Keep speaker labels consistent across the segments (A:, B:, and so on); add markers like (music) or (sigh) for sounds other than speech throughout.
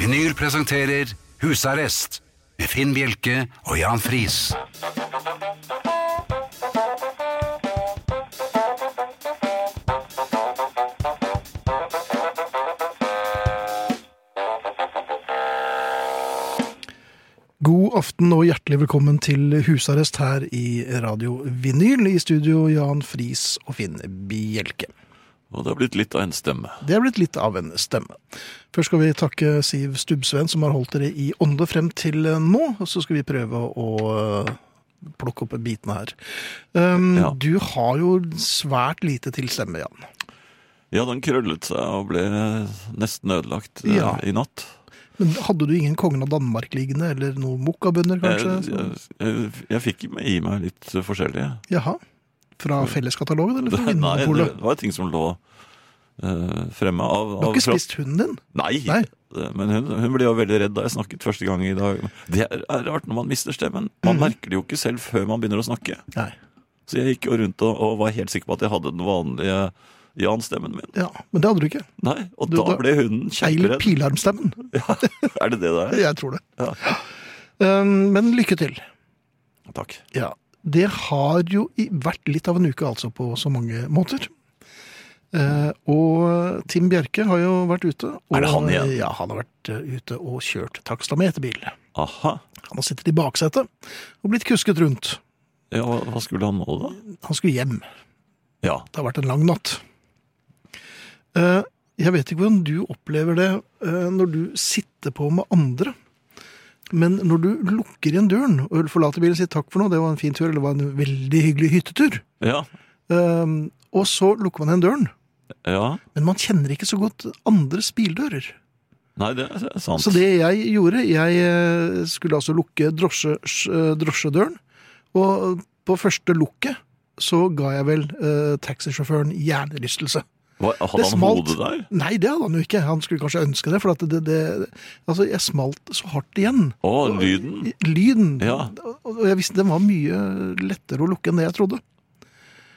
A: Vinyl presenterer Husarrest med Finn Bjelke og Jan Friis.
B: God aften og hjertelig velkommen til husarrest her i Radio Vinyl. I studio Jan Friis og Finn Bjelke.
C: Og det har blitt litt av en stemme.
B: Det er blitt litt av en stemme. Først skal vi takke Siv Stubbsveen, som har holdt dere i ånde frem til nå. Og så skal vi prøve å øh, plukke opp bitene her. Um,
C: Ja.
B: Du har jo svært lite til stemme, Jan.
C: Ja, den krøllet seg og ble nesten ødelagt eh,
B: Ja.
C: i natt.
B: Men hadde du ingen Kongen av Danmark liggende, eller noen mokkabønder, kanskje?
C: Jeg, jeg, jeg, jeg fikk med- i meg litt eh, forskjellige.
B: Jaha. Fra felleskatalogen, eller
C: Det, (laughs)
B: fra
C: nei, det
B: Vinmonopolet?
C: var ting som lå eh, fremme av,
B: Du
C: av
B: har ikke
C: fra-
B: spist hunden din?
C: Nei.
B: Nei.
C: Eh, Men hun, hun ble jo veldig redd da jeg snakket første gang i dag. Det er er rart når man mister stemmen.
B: Mhm.
C: Man merker det jo ikke selv før man begynner å snakke.
B: Nei.
C: Så jeg gikk jo rundt og, og var helt sikker på at jeg hadde den vanlige Jan-stemmen min.
B: Ja, Men det hadde du ikke.
C: Nei, Og
B: Du, da-
C: da ble hunden
B: Eil
C: (laughs) kjemperedd.
B: Pilarmstemmen.
C: Er det det det er?
B: Jeg tror det. Um, Men lykke til.
C: Takk.
B: Ja. Det har jo i- vært litt av en uke, altså, på så mange måter. Eh, og Tim Bjerke har jo vært ute. Og,
C: Er det han igjen?
B: Ja, han har vært eh, ute og kjørt takstameterbil.
C: Aha.
B: Han har sittet i baksetet og blitt kusket rundt.
C: Ja, hva, hva skulle han nå, da?
B: Han skulle hjem.
C: Ja.
B: Det har vært en lang natt. Eh, Jeg vet ikke hvordan du opplever det eh, når du sitter på med andre. Men når du lukker igjen døren og forlater bilen og sier takk for nå, det var en fin tur, eller det var en veldig hyggelig hyttetur,
C: Ja.
B: eh, og så lukker man igjen døren,
C: ja.
B: men man kjenner ikke så godt andres bildører.
C: Nei, det er sant.
B: Så det jeg gjorde, jeg eh, skulle altså lukke drosje, eh, drosjedøren, og på første lukket så ga jeg vel eh, taxisjåføren hjernerystelse.
C: Hva, hadde
B: det
C: han
B: smalt.
C: hodet der?
B: Nei, det hadde han jo ikke. Han skulle kanskje ønske det, for at det, det Altså, jeg smalt så hardt igjen.
C: Å, lyden.
B: Lyden.
C: Ja.
B: Og jeg visste den var mye lettere å lukke enn det jeg trodde.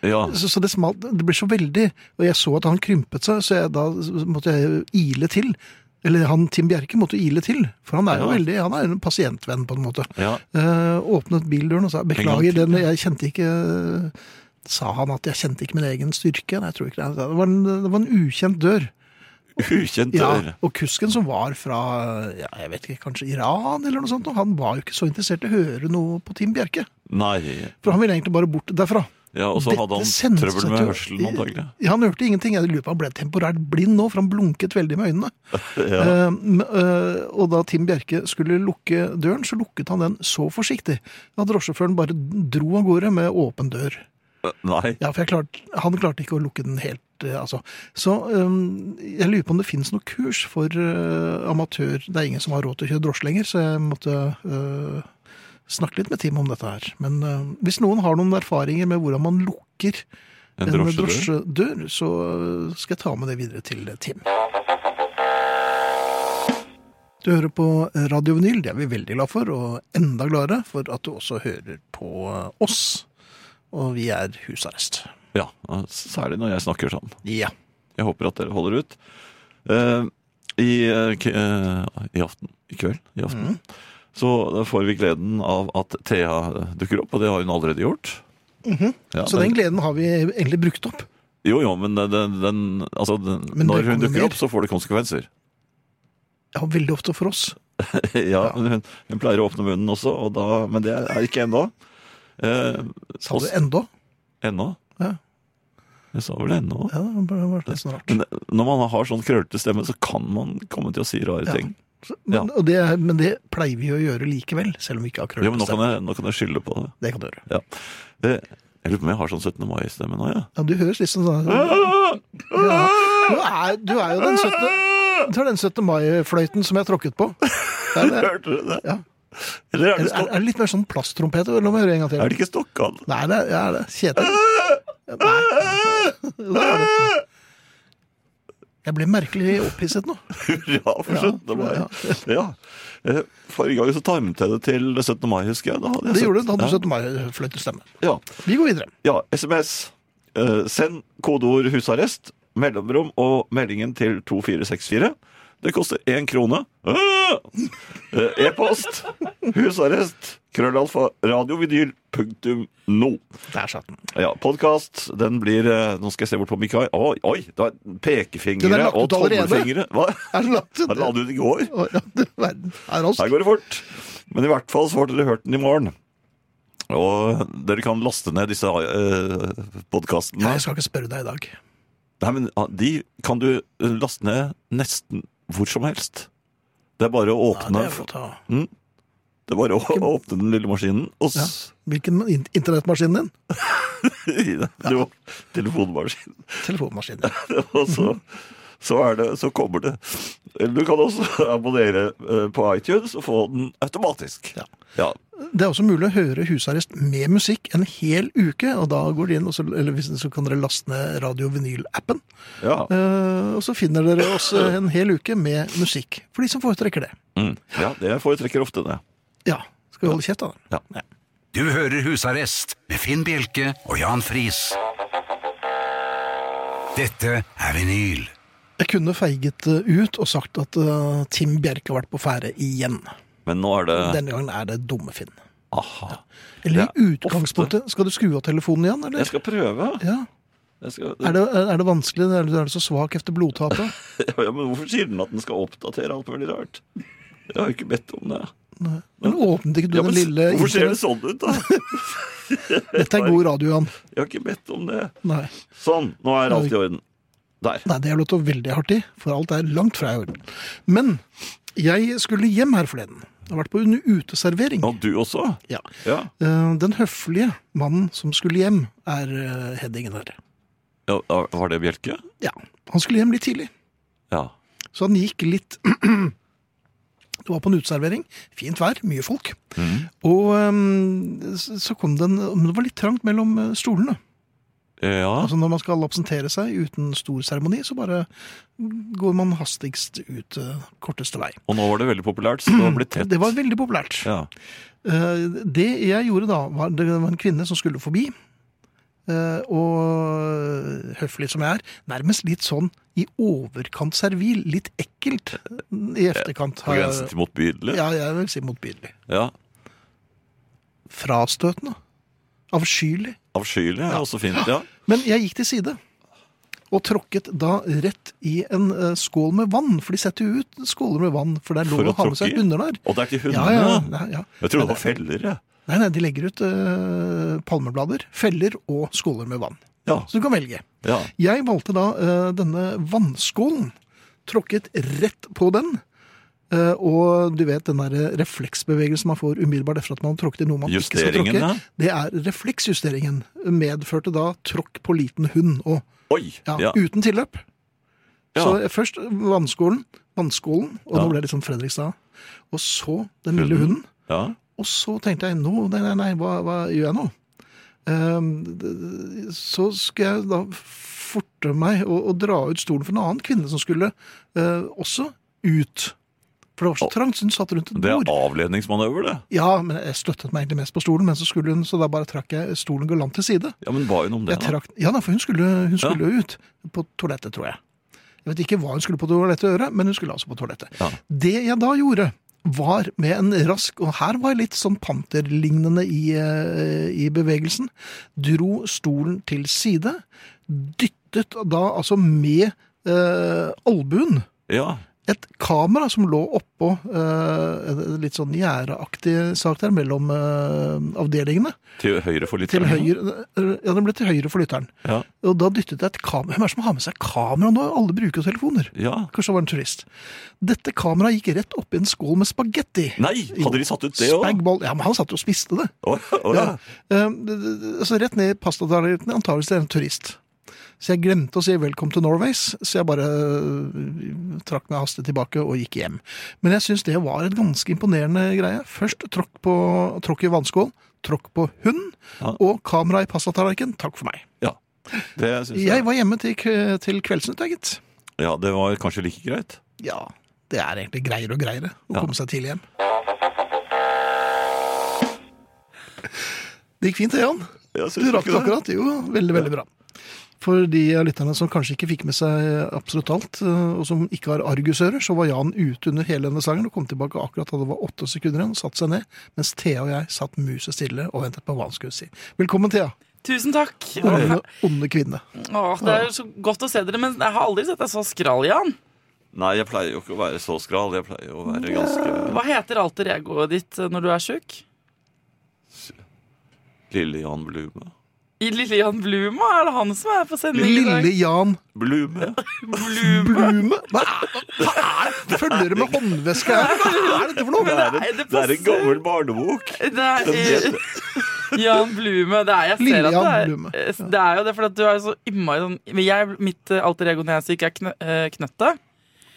C: Ja.
B: Så, så det smalt Det ble så veldig. Og jeg så at han krympet seg, så jeg, da måtte jeg ile til. Eller han Tim Bjerke måtte jo ile til, for han er jo
C: Ja.
B: veldig Han er jo en pasientvenn, på en måte.
C: ja.
B: Eh, åpnet bildøren og sa
C: En gang
B: beklager,
C: til,
B: den, jeg kjente ikke Sa han at jeg kjente ikke min egen styrke? Nei, jeg tror ikke det. Det var en, det var en ukjent dør.
C: Ukjent dør.
B: Ja, og kusken som var fra ja, jeg vet ikke, kanskje Iran eller noe sånt, og han var jo ikke så interessert i å høre noe på Tim Bjerke.
C: Nei.
B: For han ville egentlig bare bort derfra.
C: Ja, Og så
B: Dette
C: hadde han
B: sendte
C: trøbbel
B: seg
C: med
B: til-
C: hørselen, antagelig.
B: Ja, Han hørte ingenting. Jeg lurer på om han ble temporært blind nå, for han blunket veldig med
C: (laughs)
B: øynene. Eh, m- eh, og da Tim Bjerke skulle lukke døren, så lukket han den så forsiktig at drosjesjåføren bare dro av gårde med åpen dør.
C: Eh, Nei.
B: Ja, for jeg klarte, han klarte ikke å lukke den helt, eh, altså. Så øhm, jeg lurer på om det finnes noe kurs for øh, amatør. Det er ingen som har råd til å kjøre drosje lenger, så jeg måtte øh, snakke litt med Tim om dette her. Men øh, hvis noen har noen erfaringer med hvordan man lukker
C: En
B: en
C: drosjedør?
B: drosjedør, så øh, skal jeg ta med det videre til eh, Tim. Du hører på øh, Radio Vinyl, det er vi veldig glad for, og enda gladere for at du også hører på øh, oss. Og vi er husarrest.
C: Ja. Særlig når jeg snakker sånn.
B: Ja.
C: Jeg håper at dere holder ut. Eh, i, eh, k eh, I aften. I kveld. I aften.
B: Mm.
C: Så eh, får vi gleden av at Thea dukker opp, og det har hun allerede gjort. ja,
B: Mm-hmm. Så den gleden har vi egentlig brukt opp.
C: Jo, jo, men den, den, den, altså, den,
B: Men det
C: når hun
B: kommer
C: dukker
B: mer.
C: opp, så får det konsekvenser.
B: Ja, veldig ofte for oss.
C: ja, men hun, hun pleier å åpne munnen også, og da, men det er ikke ennå. Eh,
B: Sa du
C: også-
B: enda?
C: ennå?
B: Ja.
C: Jeg sa vel ennå.
B: Ja, det var- var litt sånn rart.
C: Men når man har sånn krøllete stemme, så kan man komme til å si rare
B: Ja.
C: ting.
B: Men, og det, er- men det pleier vi å gjøre likevel, selv om vi ikke har
C: Ja, men nå kan,
B: krøllestemme.
C: jeg, nå kan jeg skylde på det.
B: Det kan du gjøre.
C: Ja. Eh, Jeg lurer på om jeg har sånn 17. mai-stemme nå, ja.
B: Ja, du høres litt sånn
C: Ah!
B: sånn ja. du, er, du er jo den 17. Du er den 17. mai-fløyten som jeg tråkket
C: (laughs)
B: på. Det er, det.
C: Hørte dere det?
B: Ja.
C: Eller er
B: Er,
C: det,
B: er,
C: stokk,
B: er det litt mer sånn plasttrompet? La meg høre en gang til.
C: er det ikke Stokkan?
B: Nei, det er, ja, det er Kjetil. Ja, Nei. Det er det. Jeg ble merkelig opphisset
C: (laughs)
B: nå.
C: Hurra for 17. mai. Ja. Eh, Forrige gang så timet jeg det til 17. mai, husker jeg. Da hadde
B: Det
C: jeg sett-
B: gjorde det. Da hadde du
C: Ja.
B: 17. mai-fløytestemme.
C: Ja.
B: Vi går videre.
C: ja. SMS. Eh, Send kodeord 'husarrest', mellomrom og meldingen til 2464. Det koster én krone. Ah! Eh, E-post husarrest krøllalfa radiovidyl.no.
B: Der satt den.
C: Ja, podkast. Den blir eh, Nå skal jeg se bort på Mikai. Oi, oi! Det er
B: Den er
C: pekefingre
B: lagt
C: og
B: ut allerede.
C: tommelfingre. Hva?
B: Er den lagt
C: (laughs)
B: ut?
C: Den la du ut i går.
B: Å, ja, du verden. Er rask.
C: Her går det fort. Men i hvert fall så får dere hørt den i morgen. Og dere kan laste ned disse eh,
B: Nei,
C: podkastene.
B: jeg skal ikke spørre deg i dag.
C: Nei, men ah, De kan du eh, laste ned nesten hvor som helst. Det er bare å
B: Nei,
C: åpne
B: det er flott, ja.
C: Det er bare å åpne den lille maskinen, og s- (laughs)
B: Hvilken in- internettmaskin din?
C: Det var telefonmaskinen.
B: Telefonmaskinen. ja.
C: (laughs) Og så, så, er det, så kommer det. Du kan også (laughs) abonnere eh, på iTunes og få den automatisk.
B: Ja.
C: ja.
B: Det er også mulig å høre husarrest med musikk en hel uke, og da går de inn, og så, eller hvis, så kan dere laste ned radio-vinyl-appen,
C: ja.
B: eh, og så finner dere oss en hel uke med musikk, for de som foretrekker det.
C: Mm. ja det foretrekker ofte det.
B: Ja, skal vi holde kjeft da?
C: Ja.
A: Du hører Husarrest med Finn Bjelke og Jan Friis. Dette er vinyl.
B: Jeg kunne feiget eh, ut og sagt at eh, Tim Bjerke har vært på fære igjen.
C: Men nå er det
B: Denne gangen er det dumme Finn.
C: Aha.
B: Eller i
C: Det er
B: utgangspunktet, skal du skru av telefonen igjen,
C: Jeg
B: eller?
C: skal prøve.
B: Ja.
C: Jeg skal...
B: Er det, er det vanskelig, eller er du så svak efter blodtapet?
C: (laughs) Ja, men hvorfor sier den at den skal oppdatere alt mulig rart? Jeg har jo ikke bedt om det.
B: Nei. Men åpnet ikke du
C: Ja, men
B: den lille...
C: hvorfor ser det
B: internett-
C: sånn ut, da?
B: Dette er god radio, Jan.
C: Jeg har ikke bedt om det.
B: Nei.
C: Sånn, nå er alt i orden. Der.
B: Nei, det har låta veldig hardt i, for alt er langt fra i orden. Men jeg skulle hjem her forleden. Jeg har vært på en uteservering.
C: Og du også?
B: Ja.
C: Ja.
B: Eh, Den høflige mannen som skulle hjem, er eh, headingen her.
C: ja. Var det Bjelke?
B: Ja. Han skulle hjem litt tidlig,
C: Ja.
B: så han gikk litt (clears throat) Det var på en uteservering. Fint vær, mye folk. Og eh, s- så kom det en men Det var litt trangt mellom eh, stolene.
C: Ja.
B: Altså Når man skal absentere seg uten stor seremoni, så bare mm, går man hastigst ut eh, korteste vei.
C: Og nå var det veldig populært, så det var blitt tett.
B: Det var veldig populært.
C: Ja.
B: Eh, Det jeg gjorde da, var det var en kvinne som skulle forbi. eh, Og høflig som jeg er, nærmest litt sånn i overkant servil. Litt ekkelt i efterkant.
C: Eh, På grensen til motbydelig.
B: Ja, jeg vil si motbydelig.
C: Ja.
B: Frastøtende. Avskyelig.
C: Avskyelig er også fint. Ja.
B: Men jeg gikk til side. Og tråkket da rett i en eh, skål med vann. For de setter jo ut skåler med vann, for det er
C: For
B: lov
C: å
B: å ha
C: tråkke
B: med seg
C: i?
B: hunder der.
C: Og det er til
B: Ja, ja,
C: hundene.
B: ja, ja.
C: Jeg trodde det var feller, jeg.
B: Nei, nei, de legger ut eh, palmeblader, feller og skåler med vann.
C: Ja.
B: Så du kan velge.
C: ja.
B: Jeg valgte da eh, denne vannskålen, tråkket rett på den. eh, og du vet den der refleksbevegelsen man får umiddelbart etter at man har tråkket i noe man ikke skal
C: Justeringen,
B: tråkke.
C: ja.
B: Det er refleksjusteringen. Medførte da tråkk på liten hund og
C: Oi!
B: ja,
C: Ja.
B: uten tilløp.
C: Ja.
B: Så eh, først vannskålen, vannskålen, og
C: Ja.
B: nå ble det litt sånn Fredrikstad. Og så den lille hunden.
C: ja.
B: Og så tenkte jeg nå, nei, nei, nei, hva, hva gjør jeg nå? Ehm, d- d- så skal jeg da forte meg å, å dra ut stolen for en annen kvinne som skulle eh, også ut. For det var så trangt, så hun satt rundt et
C: Det er
B: bord.
C: avledningsmanøver, det.
B: Ja, men jeg støttet meg egentlig mest på stolen, men så skulle hun, så da bare trakk jeg stolen galant til side.
C: Ja, Men ba hun om det?
B: Jeg
C: da?
B: trakk, ja da, for hun skulle, hun skulle jo ut på toalettet, tror jeg. Jeg vet ikke hva hun skulle på toalettet gjøre, men hun skulle altså på toalettet.
C: Ja.
B: Det jeg da gjorde, var med en rask, og her var jeg litt sånn panterlignende i, eh, i bevegelsen, dro stolen til side, dyttet da altså med eh, albuen
C: Ja.
B: et kamera som lå oppå eh, en litt sånn gjerdeaktig sak der mellom eh, avdelingene.
C: Til høyre for litt.
B: Til høyre, eh, ja, den ble til høyre for lytteren.
C: Ja.
B: Og da dyttet jeg et kamera. Hvem er det som har med seg kamera nå? Alle bruker jo telefoner.
C: ja.
B: Kanskje det var en turist. Dette kameraet gikk rett oppi en skål med spagetti.
C: Nei, hadde de satt ut det òg?
B: Spagball. Ja, men han satt jo og spiste det.
C: Å å, ja.
B: Eh, Så rett ned i pastatallerkenen, antakeligvis til en turist. Så jeg glemte å si velkommen til Norways, så jeg bare eh, trakk meg hastig tilbake og gikk hjem. Men jeg syns det var et ganske imponerende greie. Først tråkk, på, tråkk i vannskål, tråkk på hund,
C: Ja.
B: og kamera i pastatallerken. Takk for meg.
C: ja. Det syns jeg.
B: Jeg var hjemme til, k- til Kveldsnytt, jeg, gitt.
C: Ja, det var kanskje like greit.
B: Ja, det er egentlig greiere og greiere å
C: Ja.
B: komme seg tidlig hjem. Det gikk fint, det, Jan.
C: Jeg
B: Du
C: syns
B: rakk det
C: ikke det.
B: akkurat. Jo, veldig, veldig bra. For de av lytterne som kanskje ikke fikk med seg absolutt alt, eh, og som ikke har argusører, så var Jan ute under hele denne sangen og kom tilbake akkurat da det var åtte sekunder igjen og satte seg ned, mens Thea og jeg satt musestille og ventet på hva han skulle si. Velkommen, Thea.
D: Tusen takk.
B: Onde, onde kvinne.
D: Åh, det er så godt å se dere, men jeg har aldri sett deg så skral, Jan.
C: Nei, jeg pleier jo ikke å være så skral. Jeg pleier å være ganske
D: Hva heter alter egoet ditt når du er sjuk?
C: Lille Jan Blume.
D: I Lille Jan Bluma? Er det han som er på sending i dag?
B: Lille Jan
C: Blume?
D: Blume.
B: Blume. Hva er hva er det? Følger du med håndveske her? Hva er dette for noe?
D: Men det
C: Det
D: er, det
C: er
D: passer.
C: en gammel barnebok.
D: Det er, Jan Blume. Det er, jeg ser
B: Lille
D: at
B: Jan
D: det er,
B: Blume, ja.
D: det er jo det, for at du er så innmari sånn men jeg, Mitt eh, alter ego når jeg er syk, er knø, eh, Knøtte.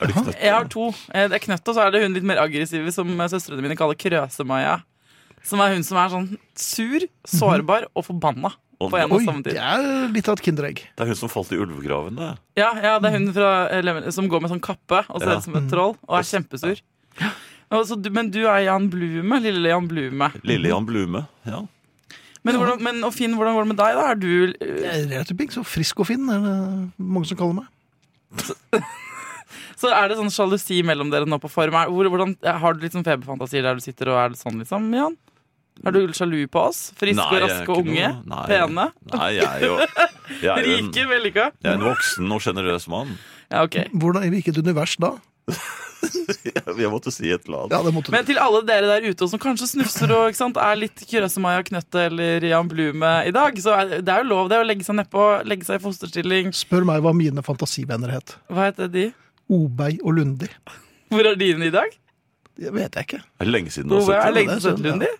C: Er det knøtt?
D: Jeg har to. Eh, Det er Knøtte, og så er det hun litt mer aggressive som eh, søstrene mine kaller Krøse-Maja. Som er hun som er sånn sur, sårbar og forbanna
C: Å,
D: på en
B: Mhm.
D: og
B: Oi,
D: samme tid.
B: det er lilitt av et kinderegg.
C: Det er hun som falt i ulvegraven, det.
D: Ja, ja, det er hun fra, eller, som går med sånn kappe og ser
C: Ja.
D: ut som et
B: Mhm.
D: troll og er kjempesur. Og så du, men du er Jan Blume, lille Jan Blume.
C: Lille Jan Blume. Ja.
D: Men, hvordan, men og Finn, hvordan går det med deg? da? Er du, eh,
B: Jeg er relativt pink, så frisk og fin er det mange som kaller meg.
D: så er det sånn sjalusi mellom dere nå på form? Er, hvor, hvordan, har du litt sånn feberfantasier der du sitter og er litt sånn, liksom, Jan? Er du sjalu på oss? Friske og
C: jeg er
D: raske og
C: ikke
D: unge?
C: noe- nei,
D: Pene?
C: Nei, jeg er jo jeg er jo en,
D: (laughs) Rike? Vellykka?
C: jeg er en voksen og sjenerøs mann.
D: Ja, ok.
B: Hvordan er vi ikke et univers da?
C: Jeg måtte si et eller annet.
B: Ja, det måtte
D: Men til alle dere der ute som kanskje snufser og ikke sant, er litt Kjøresemaja Knøtte eller Jan Blume i dag, så er det er jo lov det å legge seg nedpå, legge seg i fosterstilling.
B: du. Spør meg hva mine fantasivenner het.
D: Hva heter de?
B: Obei og Lundi.
D: Hvor er dine i dag?
B: Det vet jeg ikke.
C: Er det lenge siden du har
D: Hvor er
C: sett
D: lenge
B: det,
D: til Søtlund de?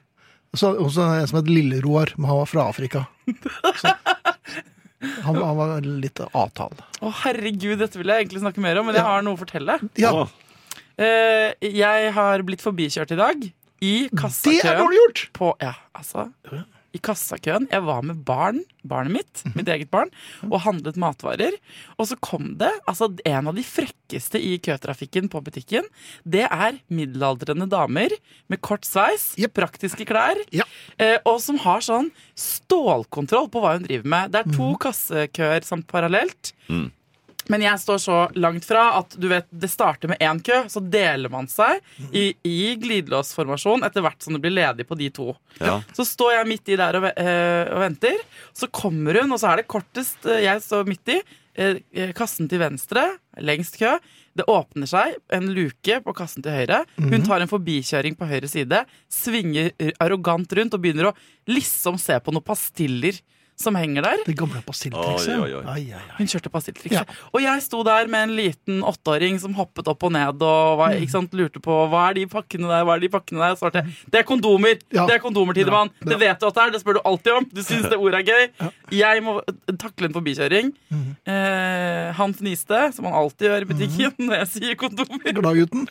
B: Så, og så er det en som het Lille-Roar, men han var fra Afrika. Så, han, han var litt avtale.
D: Å herregud, dette vil jeg egentlig snakke mer om, men jeg har noe å fortelle.
B: Ja,
C: Å,
D: Eh, jeg har blitt forbikjørt i dag i
B: det er
D: kassakøen
B: dårlig gjort!
D: på Ja, altså. I kassakøen. Jeg var med barn, barnet mitt,
B: Mhm.
D: mitt eget barn, og handlet matvarer. Og så kom det altså en av de frekkeste i køtrafikken på butikken. Det er middelaldrende damer med kort sveis,
B: Jep.
D: praktiske klær,
B: Ja.
D: eh, og som har sånn stålkontroll på hva hun driver med. Det er
B: Mhm.
D: to kassekøer samt parallelt.
C: Mm.
D: Men jeg står så langt fra at du vet, det starter med én kø, så deler man seg i, i glidelåsformasjon etter hvert som det blir ledig på de to.
C: ja.
D: Så står jeg midt i der og, ve- eh, og venter. Så kommer hun, og så er det kortest eh, jeg står midt i. eh, eh, Kassen til venstre, lengst kø. Det åpner seg en luke på kassen til høyre. Hun tar en forbikjøring på høyre side, svinger eh, arrogant rundt og begynner å liksom se på noen pastiller som henger der.
B: Det gamle pastilltrikset.
C: Oi, oi, oi.
B: Ai, ai, ai.
D: Hun kjørte pastilltrikset. Og jeg sto der med en liten åtteåring som hoppet opp og ned og var,
B: Mm.
D: ikke sant, lurte på hva er de pakkene der, hva er de pakkene der? Og svarte jeg det er kondomer!
B: Mm. Ja.
D: Det er kondomer, Tidemann!
B: Bra, bra.
D: Det vet du at det er, det spør du alltid om! Du syns det ordet er gøy! Jeg må takle en forbikjøring.
B: Mm.
D: Eh, han fniste, som han alltid gjør i butikken
B: Mm.
D: når jeg sier kondomer. (laughs)
B: Glad gutten.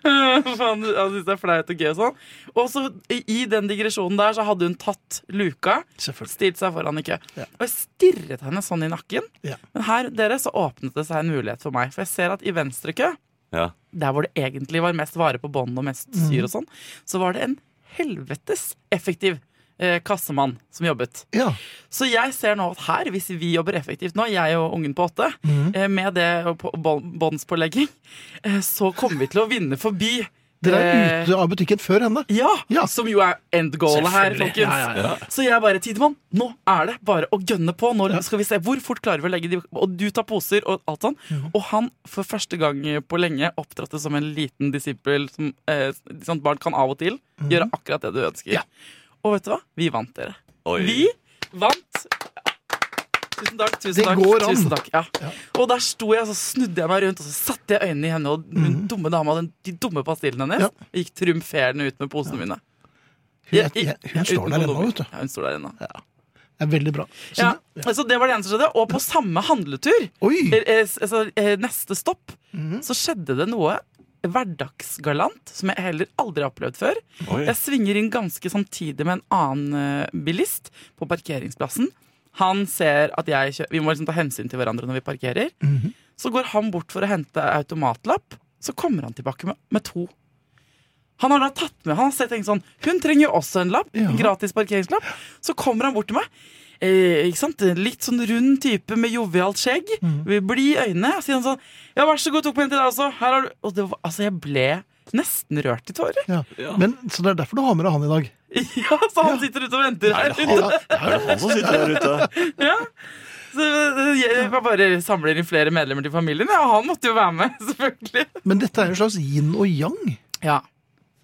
D: For han, han syns det er flaut og gøy og sånn. Og så i i den digresjonen der så hadde hun tatt luka.
B: Selvfølgelig.
D: Stilt seg foran i kø.
B: Ja.
D: Og jeg stirret henne sånn i nakken.
B: Ja.
D: Men her dere, så åpnet det seg en mulighet for meg. For jeg ser at i venstre kø,
C: ja.
D: der hvor det egentlig var mest vare på bånd og mest
B: Mhm.
D: syr og sånn, så var det en helvetes effektiv eh, kassemann som jobbet.
B: Ja.
D: Så jeg ser nå at her, hvis vi jobber effektivt nå, jeg og ungen på åtte,
B: Mhm.
D: eh, med det og på- bånd- båndspålegging, eh, så kommer vi til å vinne forbi
B: Dere er
D: eh,
B: ute av butikken før henne.
D: ja,
B: Ja.
D: som jo er end goalet her,
B: Selvfølgelig.
D: folkens.
B: Ja, ja,
D: Så jeg bare Tidemann, nå er det bare å gønne på. Nå skal vi se hvor fort klarer vi å legge de Og du tar poser og alt sånn. Og han, for første gang på lenge, opptrådte som en liten disippel som eh, ikke sant, barn kan av og til gjøre akkurat det du ønsker.
B: Ja.
D: Og vet du hva? Vi vant, dere.
C: Oi.
D: Vi vant. Tusen takk. tusen
B: Det
D: takk,
B: går an.
D: tusen takk ja. Og der sto jeg, og så snudde jeg meg rundt og så satte jeg øynene i henne og den dumme dama, den, de dumme pastillene hennes,
B: Mhm. Ja.
D: og gikk triumferende ut med posene mine.
B: Hun,
D: Jeg- jeg-
B: er- hun
D: jeg-
B: står
D: uten
B: der ennå,
D: kondomer.
B: vet du.
D: Ja, hun står der ennå.
B: Det er veldig bra. Så
D: Ja,
B: det-
D: så det var det eneste som skjedde. Og på samme handletur, eh,
B: Oi!
D: eh, s- altså, eh, neste stopp,
B: Mhm.
D: så skjedde det noe hverdagsgalant som jeg heller aldri har opplevd før.
C: Oi.
D: Jeg svinger inn ganske samtidig med en annen eh, bilist på parkeringsplassen. Han ser at jeg kjører Vi må liksom ta hensyn til hverandre når vi parkerer. Så går han bort for å hente automatlapp. Så kommer han tilbake med, med to. Han har da tatt med Han har sett tenkt sånn Hun trenger jo også en lapp.
B: Ja.
D: En gratis parkeringslapp. Så kommer han bort til meg. eh, ikke sant? litt sånn rund type med jovialt skjegg. Mm. Blid i øynene. Sier han sånn Ja, vær så god, tok på en til deg også. Her har du Og det var, altså, jeg ble nesten rørt i tårer.
B: Ja.
C: Ja.
B: Men, så det er derfor du har med deg han i dag.
D: (laughs) Ja, så han sitter ute og venter
C: Nei,
D: her.
C: det er han, det er han som sitter der ute.
D: Ja. (laughs) Så eh, jeg bare samler inn flere medlemmer til familien, ja, og han måtte jo være med, (laughs) selvfølgelig.
B: Men dette er en slags yin og yang.
D: Ja,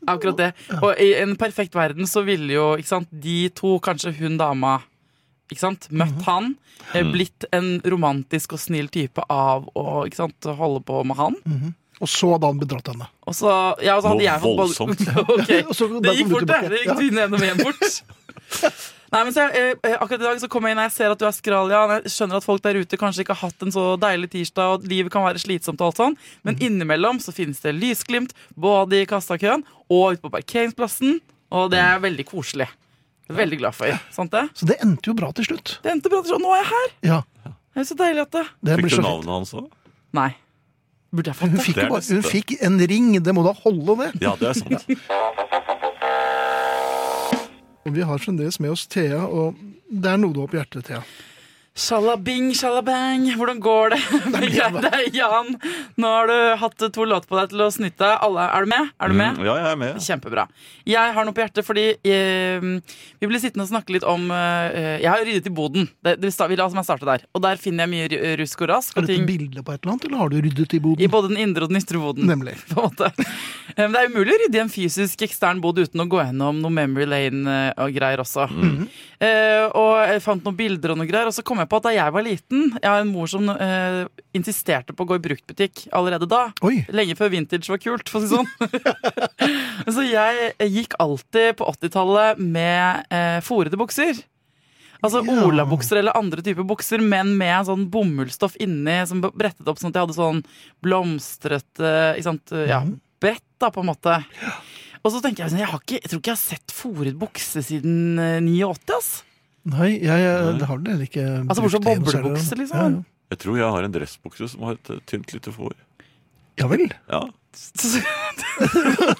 D: akkurat det. Og i en perfekt verden så ville jo ikke sant, de to, kanskje hun dama ikke sant? Møtt han, eh, blitt en romantisk og snill type av å ikke sant, holde på med han.
B: Og så hadde han bedratt henne.
D: Og så, ja, og så hadde
C: Noe
D: jeg fått boll-
C: voldsomt.
D: (laughs) Ok,
B: Og (laughs) så- der
D: Det gikk
B: kom du
D: fort, det.
B: tilbake.
D: Det gikk tiden gjennom
B: (laughs)
D: igjen fort. Nei, men så, jeg- eh, akkurat i dag så kommer jeg inn og jeg ser at du er skralia. og Jeg skjønner at folk der ute kanskje ikke har hatt en så deilig tirsdag, og at livet kan være slitsomt og alt sånn, men
B: Mm.
D: innimellom så finnes det lysglimt både i kassakøen og ute på parkeringsplassen, og det er veldig koselig. Veldig glad for. Sant det?
B: Så det endte jo bra til slutt.
D: Det endte bra. til slutt. Nå er jeg her!
B: Ja,
D: Det er så deilig at det
B: det
C: Fikk
B: blir
C: du
B: så fint.
C: navnet hans òg?
D: Nei. Burde jeg fått
B: Hun
D: det?
B: fikk,
C: Det er
B: jo bare,
C: det
B: hun
C: beste.
B: fikk en ring, det må da holde det.
C: Ja, det er sant.
B: Vi har fremdeles med oss Thea, og det er noe du har på hjertet, Thea.
D: Shalabing, shalabang, hvordan går det? Begreit deg, Jan. Nå har du hatt to låter på deg til å snytte deg. Alle, er du med? Er du med?
C: Mm, Ja, jeg er med.
D: Kjempebra. Jeg har noe på hjertet fordi eh, vi ble sittende og snakke litt om eh, Jeg har ryddet i boden. Det, det, sta- vi la oss meg starte der. Og der finner jeg mye ru- rusk og rask.
B: Er
D: Og
B: dette
D: ting
B: bilde på et eller annet, eller har du ryddet i
D: i
B: boden?
D: både den indre og den ytre boden.
B: Nemlig.
D: (laughs) På en måte. Eh, Men det er umulig å rydde i en fysisk ekstern bod uten å gå gjennom noe Memory Lane eh, og greier også. Eh, og jeg fant noen bilder og noe greier, og så kom jeg på at da jeg var liten Jeg har en mor som eh, insisterte på å gå i bruktbutikk allerede da.
B: Oi,
D: Lenge før vintage var kult, for å si det sånn. (laughs) så jeg gikk alltid på 80-tallet med eh, forete bukser. Altså
B: Ja.
D: olabukser eller andre typer bukser, men med sånn bomullsstoff inni som ble brettet opp sånn at jeg hadde sånn blomstrete ikke sant? eh, Ja, brett, da, på en måte. Og så tenker jeg sånn, jeg, har ikke, jeg tror ikke jeg har sett foret bukse siden eh, 89, ass.
B: nei, jeg, jeg det har dere ikke
D: Altså, bortsett fra
B: brukt det noe
D: boblebukse,
B: særlig.
D: liksom.
B: Ja, ja.
C: Jeg tror jeg har en dressbukse som har et eh, tynt lite for.
B: Ja vel.
C: Ja.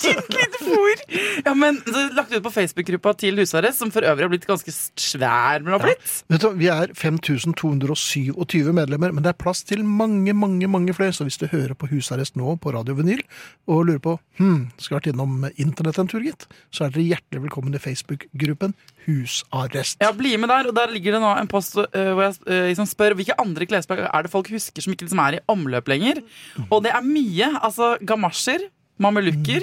D: Tynt lite fôr! Ja, men så lagt ut på Facebook-gruppa til husarrest, som for øvrig har blitt ganske svær. Men har blitt.
B: Vet du, hva, vi er 5227 medlemmer, men det er plass til mange, mange mange flere. Så hvis du hører på Husarrest nå på Radio Vinyl og lurer på hm, skal vært innom internett en tur, gitt, så er dere hjertelig velkommen i Facebook-gruppen Husarrest.
D: Ja, bli med der, og der ligger det nå en post øh, hvor jeg øh, liksom spør hvilke andre klesplagg er det folk husker som ikke liksom er i omløp lenger. Og det er mye. Altså gamasjer, mamelukker,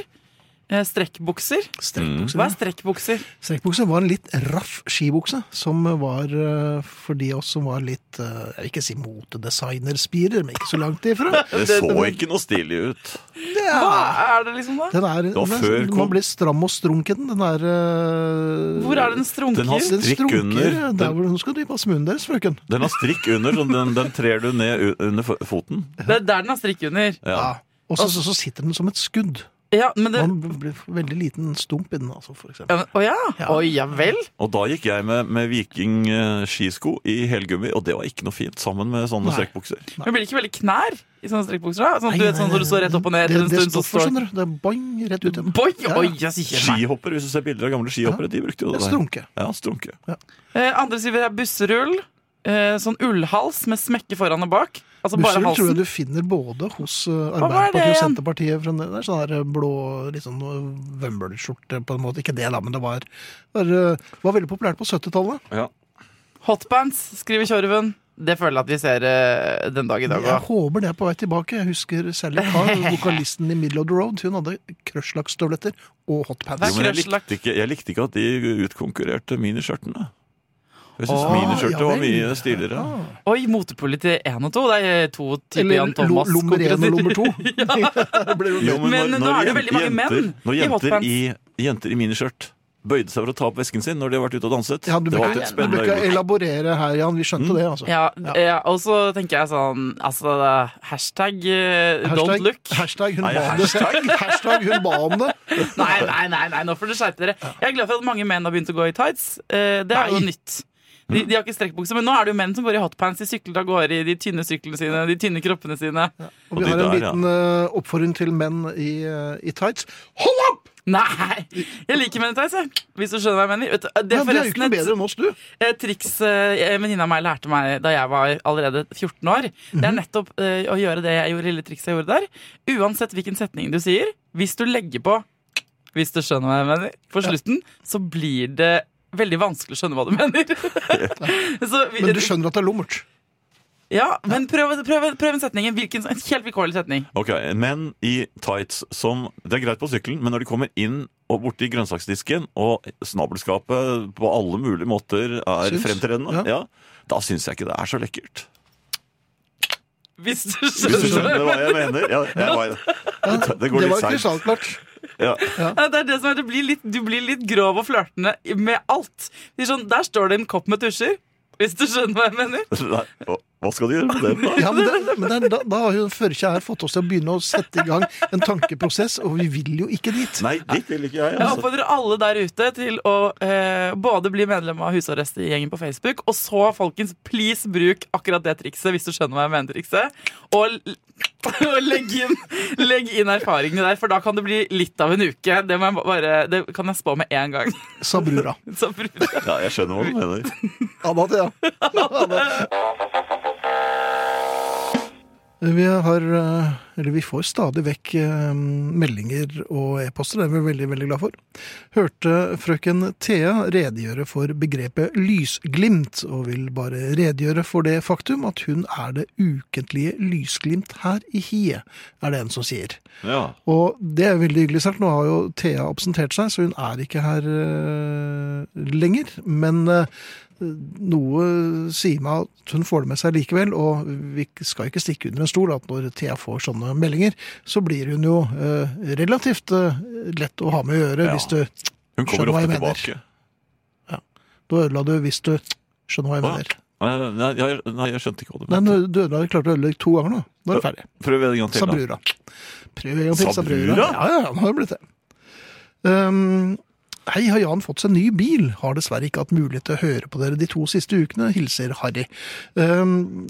D: eh, strekkbukser.
B: Strekkbukse.
D: Hva er strekkbukser?
B: Strekkbukse var en litt raff skibukse, som var eh, for de oss som var litt eh, Jeg vil ikke si motedesignerspirer, men ikke så langt ifra.
C: Det så ikke noe stilig ut.
D: (laughs) Hva er det liksom da?
B: Den er,
C: var
B: den er,
C: før
B: man
C: kom-
B: blir stram og strunken. Den er eh,
D: Hvor er den strunker?
C: Den har
B: Den
C: Strikk
B: strunker
C: under.
B: der hvor den skal du passe munnen deres, frøken.
C: Den har strikk under, så den, den trer du ned u- under fo- foten.
D: Det er der den har strikk under.
C: Ja.
B: Og så, så, så sitter den som et skudd.
D: Ja, men det...
B: Man blir veldig liten stump i den, altså, for eksempel.
D: Ja, men- Å ja?
B: Ja.
D: Å ja vel?
C: Og da gikk jeg med, med vikingskisko i helgummi, og det var ikke noe fint sammen med sånne
B: Nei.
C: strekkbukser.
D: Men blir det ikke veldig knær i sånne strekkbukser? da? Sånn, at du
B: Nei,
D: vet sånn
B: nei,
D: når du står rett opp og ned
B: det,
D: etter en
B: det
D: stund, så
B: stoffer,
D: står
B: skjønner du. Det er boing rett ut igjen.
D: Boy,
B: Ja.
D: oi, jeg sier ikke nei.
C: Skihopper, hvis du ser bilder av gamle skihoppere, de brukte jo det.
B: Det er
C: der.
B: strunke.
C: Ja, strunke.
D: Eh, andre skriver her busserull. Eh, sånn ullhals med smekke foran og bak. Altså bare
B: Busserull tror jeg
D: halsen.
B: du finner både hos eh,
D: hva er det
B: Arbeiderpartiet og
D: igjen?
B: Senterpartiet. fremdeles. Det er sånn der eh, blå litt sånn eh, vømbølskjorte, på en måte. Ikke det, da, men det var, var, eh, var veldig populært på 70-tallet.
C: Ja.
D: Hotpants, skriver Tjorven. Det føler jeg at vi ser eh, den dag i dag
B: Jeg
D: òg.
B: håper det er på vei tilbake. Jeg husker Sally Carr, vokalisten i Middle of the Road. Hun hadde krøsslakkstøvletter og
D: Hva
B: hotpants.
D: er
C: Jo, men jeg
D: krøsslagt.
C: likte, ikke, jeg likte ikke at de utkonkurrerte miniskjørtene. Jeg syns
D: Åh,
C: miniskjørtet
B: ja
C: var
B: vel.
C: mye stiligere.
D: Oi, motepoliti én og to. Det er eh, to typer
B: Eller
D: Jan Thomas.
B: lo- lommer én og
D: konkurranser.
B: lommer to.
D: (laughs)
B: (laughs) Det ble jo det.
C: Jo,
D: Men nå er det
C: jen-
D: veldig mange menn
C: når
D: i
C: jenter
D: hotpants.
C: i, jenter i miniskjørt bøyde seg for å ta opp vesken sin når de har vært ute og danset
B: Ja, du
C: Det
B: bør
C: var
B: ikke, du
C: alltid et
B: bør
C: spennende
B: ikke
C: øyeblikk. Mm.
B: elaborere her, Jan. Vi skjønte det, altså.
D: Ja, ja, og så tenker jeg sånn altså, hashtag, eh, don't look.
B: hashtag hun
C: Nei,
B: ba om det. (laughs) Hashtag hun ba om det.
D: Nei, nei, nei, nei, nå får dere skjerpe dere. Jeg er glad for at mange menn har begynt å gå i tights. Eh, Det er jo
B: Nei.
D: nytt. De, de har ikke strekkbukse, men nå er det jo menn som går i hotpants. De sykler av gårde i de tynne syklene sine, de tynne kroppene sine.
B: Og vi
C: Og de
B: har en
C: der, ja.
B: liten eh, oppfordring til menn i, eh, i tights. Hold opp!
D: Nei! Jeg liker menn i tights, jeg. Hvis du skjønner hva jeg mener. Vet du, Det
B: Ja, du er
D: er
B: jo ikke
D: forresten
B: noe
D: et
B: bedre enn oss, du.
D: eh, triks eh, en venninne av meg lærte meg da jeg var allerede 14 år. Det er nettopp eh, å gjøre det jeg gjorde, lille trikset jeg gjorde der. Uansett hvilken setning du sier, hvis du legger på Hvis du skjønner hva jeg mener, på slutten, så blir det veldig vanskelig å skjønne hva du mener. så, vi-
B: Men du skjønner at det er lummert.
D: Ja, men prøv, prøv, prøv en setning. En, hvilken, en helt vilkårlig setning.
C: Ok, Menn i tights som Det er greit på sykkelen, men når de kommer inn og borti grønnsaksdisken, og snabelskapet på alle mulige måter er
B: Syns. Ja.
C: fremtredende, ja. da syns jeg ikke det er så lekkert.
D: Hvis du
C: Hvis du
D: skjønner.
C: skjønner hva jeg mener? Ja, jeg var,
B: Ja,
C: det, det går
B: det
C: litt
B: var
C: seigt.
B: krystallklart.
C: Ja.
D: Ja, det er det som er, du blir litt, du blir litt grov og flørtende med alt. Det er sånn, der står det en kopp med tusjer. Hvis du skjønner hva jeg mener.
C: Nei, hva- Hva skal du gjøre med den, da?
B: Ja, men det, men det, er- da, da har jo Førkje her fått oss til å begynne å sette i gang en tankeprosess, og vi vil jo ikke dit.
C: Nei, dit vil ikke jeg.
D: Jeg
C: Altså.
D: oppfordrer alle der ute til å eh, både bli medlem av husarrestgjengen på Facebook, og så, folkens, please bruk akkurat det trikset, hvis du skjønner hva jeg mener, trikset. Og, l- (laughs) og legg, inn, legg inn erfaringene der, for da kan det bli litt av en uke. Det, må jeg bare, det kan jeg spå med en gang. (laughs)
B: Sa brura.
D: Så bruk det.
C: Ja, jeg skjønner hva du mener.
B: Anna til, ja. Vi har, eh, eller vi får stadig vekk eh, meldinger og e-poster, det er vi veldig, veldig glad for. Hørte frøken Thea redegjøre for begrepet lysglimt, og vil bare redegjøre for det faktum at hun er det ukentlige lysglimt her i hiet, er det en som sier.
C: Ja.
B: Og det er veldig hyggelig sagt. Nå har jo Thea absentert seg, så hun er ikke her eh, lenger. Men eh, noe sier meg at hun får det med seg likevel, og vi skal ikke stikke under en stol at når Thea får sånne meldinger, så blir hun jo eh, relativt eh, lett å ha med å gjøre
C: Ja.
B: hvis du
C: Hun
B: Skjønner
C: kommer
B: hva jeg
C: ofte
B: mener.
C: tilbake.
B: Da ødela du hvis du Skjønner hva jeg
C: Hva?
B: mener.
C: Nei, Nei, jeg, nei, jeg skjønte ikke hva du
B: Nei,
C: mente.
B: nå- du ødela, klarte å ødelegge to ganger nå. Da er det ferdig.
C: Prøv en gang til,
B: Sa
C: da.
B: brura. Prøv en gang til,
C: Sa
B: sa brura.
C: brura?
B: Ja, ja, ja, nå har det blitt det. Ehm, hei, har Jan fått seg ny bil? Har dessverre ikke hatt mulighet til å høre på dere de to siste ukene, hilser Harry. Ehm,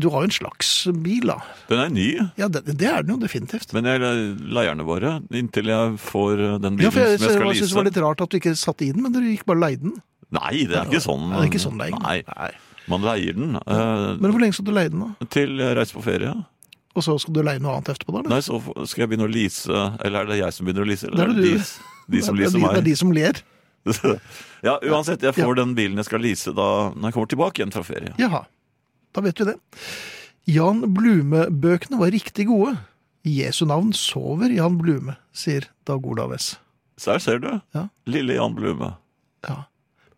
B: du har jo en slags bil, da.
C: Den er ny,
B: Ja, det, det er den jo definitivt.
C: men jeg leier den bare inntil jeg får eh, den bilen
B: Ja, for jeg,
C: som jeg skal
B: jeg synes det var
C: lease.
B: litt rart at du ikke satte i den, men dere gikk bare og leide den.
C: Nei, det er ikke sånn.
B: Ja, det er ikke sånn leie.
C: Nei, Man leier den eh,
B: Men hvor lenge skal du leie den, da?
C: til jeg reiser på ferie.
B: Og så skal du leie noe annet etterpå, da? eller?
C: Nei, så f- skal jeg begynne å lease Eller er det jeg som begynner å lease?
B: Det er
C: Eller er
B: det
C: det
B: du.
C: de, de som
B: det, er
C: leaser
B: de, det er
C: meg?
B: de som ler.
C: Ja, uansett. Jeg får den bilen jeg skal lease da når jeg kommer tilbake igjen fra ferie.
B: Jaha, da vet vi det. Jan Blume-bøkene var riktig gode. I Jesu navn sover Jan Blume, sier Dag Olav S.
C: Så her ser du.
B: Ja.
C: Lille Jan Blume.
B: Ja.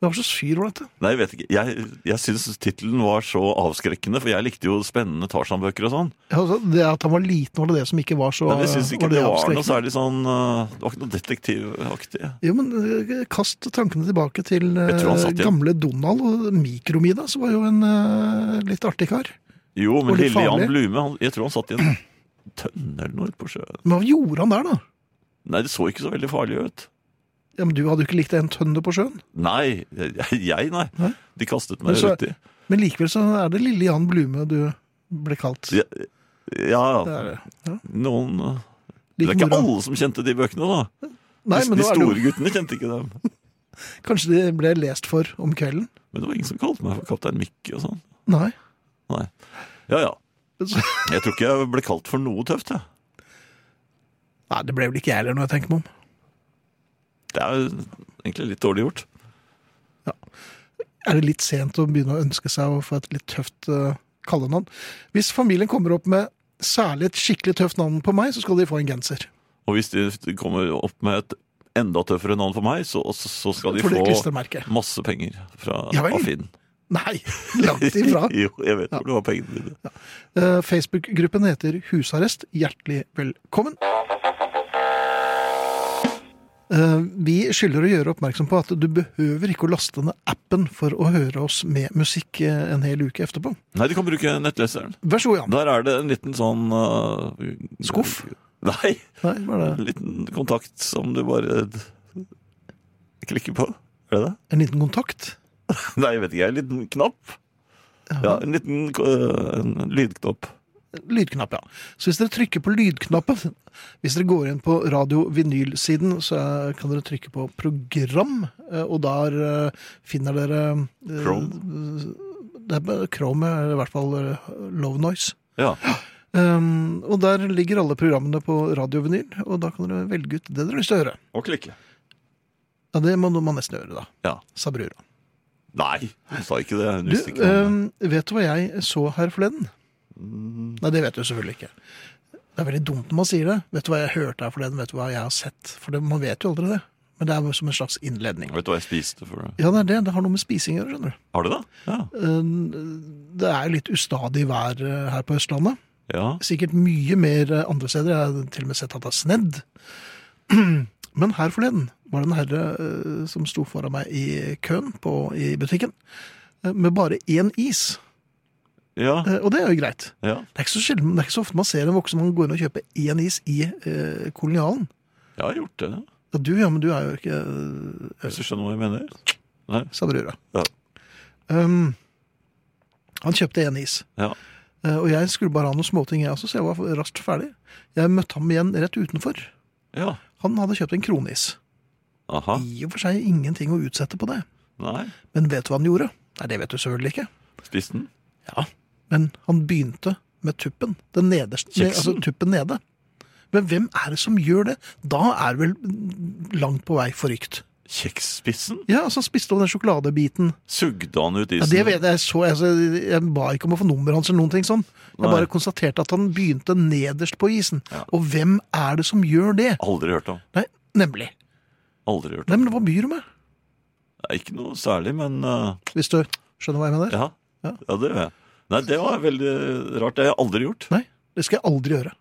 B: Men hva slags fyr var dette?
C: Nei, jeg vet ikke. Jeg, jeg syns tittelen var så avskrekkende, for jeg likte jo spennende Tarzan-bøker og sånn.
B: Ja, altså, det at han var liten, var det det som ikke var så
C: Men jeg syns ikke
B: var det
C: det var noe
B: avskrekkende?
C: særlig sånn eh, Det var ikke noe detektivaktig.
B: Jo, men eh, Kast tankene tilbake til
C: Jeg tror han
B: eh,
C: satt i-
B: gamle Donald og Mikromida, som var jo en eh, litt artig kar.
C: Jo, men
B: Og litt
C: lille Jan
B: farlig.
C: Blume, han, jeg tror han satt i en tønne eller noe ute på sjøen.
B: Men hva gjorde han der, da?
C: Nei, det så ikke så veldig farlig ut.
B: Ja, men Du hadde jo ikke likt en tønne på sjøen.
C: Nei, jeg, jeg nei.
B: Nei?
C: De kastet
B: Men
C: meg
B: så-
C: uti.
B: Men likevel så er det lille Jan Blume du ble kalt.
C: Ja,
B: Det
C: ja,
B: er det.
C: noen eh, Det
B: Lik
C: er ikke
B: mora.
C: alle som kjente de bøkene, da.
B: Nei,
C: de
B: men
C: de
B: nå er det jo
C: store guttene kjente ikke dem.
B: Kanskje de ble lest for om kvelden?
C: Men det var ingen som kalte meg for Kaptein Mikke og sånn.
B: Nei. (laughs)
C: Ja, ja.
B: Men så-
C: Jeg tror ikke jeg ble kalt for noe tøft, jeg.
B: Nei, det ble vel ikke jeg heller, når jeg tenker meg om.
C: Det er jo egentlig litt dårlig gjort.
B: Er det litt sent å begynne å ønske seg å få et litt tøft eh, kallenavn? Hvis familien kommer opp med særlig et skikkelig tøft navn på meg, så skal de få en genser.
C: Og hvis de kommer opp med et enda tøffere navn for meg, så, så, så skal de
B: For det
C: få
B: klistremerket.
C: masse penger fra
B: Ja vel.
C: Afinn.
B: Nei, (laughs) langt ifra.
C: (laughs) jo, jeg vet hvor du har pengene dine.
B: Eh, Facebook-gruppen heter Husarrest. Hjertelig velkommen. Eh, Vi skylder å gjøre oppmerksom på at du behøver ikke å laste ned appen for å høre oss med musikk eh, en hel uke etterpå.
C: Nei, du kan bruke nettleseren.
B: Vær så god, Jan.
C: Der er det en liten sånn eh,
B: Skuff?
C: Nei,
B: Nei, hva er det?
C: en liten kontakt som du bare klikker på. Er det det?
B: En liten kontakt?
C: (laughs) Nei, jeg vet ikke. En liten knapp. Ja, En liten øh, en lydknapp.
B: Lydknapp, ja. Så hvis dere trykker på lydknappen Hvis dere går inn på radiovinylsiden, så eh, kan dere trykke på program, eh, og der eh, finner dere eh, Det er bare Chrome, eller i hvert fall eh, Low Noise.
C: Ja.
B: Um, og der ligger alle programmene på radiovinyl, og da kan dere velge ut det dere har lyst til å høre.
C: Og klikke.
B: Ja, Det må man nesten gjøre, da.
C: Ja.
B: Sa brura.
C: Nei, hun sa ikke det. Hun
B: Du, eh,
C: visste ikke om det.
B: øhm, vet du hva jeg så her forleden?
C: Mm.
B: Nei, det vet du selvfølgelig ikke. Det er veldig dumt når man sier det. Vet du hva jeg hørte her forleden? Vet du hva jeg har sett? For det, man vet jo aldri det. Men det er jo som en slags innledning.
C: Vet du hva jeg spiste for det?
B: Ja, det er det. Det har noe med spising å gjøre, skjønner du.
C: Har du det? Ja.
B: Øhm, Det er jo litt ustadig vær øh, her på Østlandet.
C: ja.
B: Sikkert mye mer øh, andre steder. Jeg har til og med sett at det er snedd. (clears throat) Men her forleden var det en herre øh, som sto foran meg i køen på, i butikken øh, med bare én is.
C: Ja.
B: Eh, Og det er jo greit.
C: ja.
B: Det er ikke så, sjelden, det er ikke så ofte man ser en voksen man går inn og kjøper én is i eh, kolonialen.
C: Jeg har gjort det.
B: Ja, du, ja, men du er jo ikke eh,
C: Hvis du skjønner hva jeg mener.
B: sa brura.
C: Ja.
B: Um, han kjøpte én is,
C: Ja.
B: Eh, og jeg skulle bare ha noen småting, jeg også, så jeg var raskt ferdig. Jeg møtte ham igjen rett utenfor.
C: ja.
B: Han hadde kjøpt en kroneis.
C: Aha.
B: I og for seg ingenting å utsette på det.
C: Nei.
B: Men vet du hva han gjorde? Nei, det vet du selvfølgelig ikke.
C: Spiste den?
B: Men han begynte med tuppen. Den nederste,
C: Kjeksen.
B: ne- altså tuppen nede. Men hvem er det som gjør det? Da er det vel mm, langt på vei forrykt.
C: Kjeksspissen?
B: Ja, altså han spiste over den sjokoladebiten.
C: Sugde han ut
B: Ja,
C: isen?
B: det vet jeg, så, altså, jeg ba ikke om å få nummeret hans eller noen ting sånn. Jeg
C: Nei.
B: bare konstaterte at han begynte nederst på isen.
C: Ja.
B: Og hvem er det som gjør det?
C: Aldri hørt om.
B: Nei, nemlig.
C: Aldri hørt om.
B: Nei, men hva byr du med?
C: Nei, Ikke noe særlig, men eh,
B: Hvis du skjønner hva jeg mener?
C: ja.
B: Ja.
C: ja, det gjør jeg. Nei, det var veldig rart. Det har jeg aldri gjort.
B: Nei, det skal jeg aldri gjøre.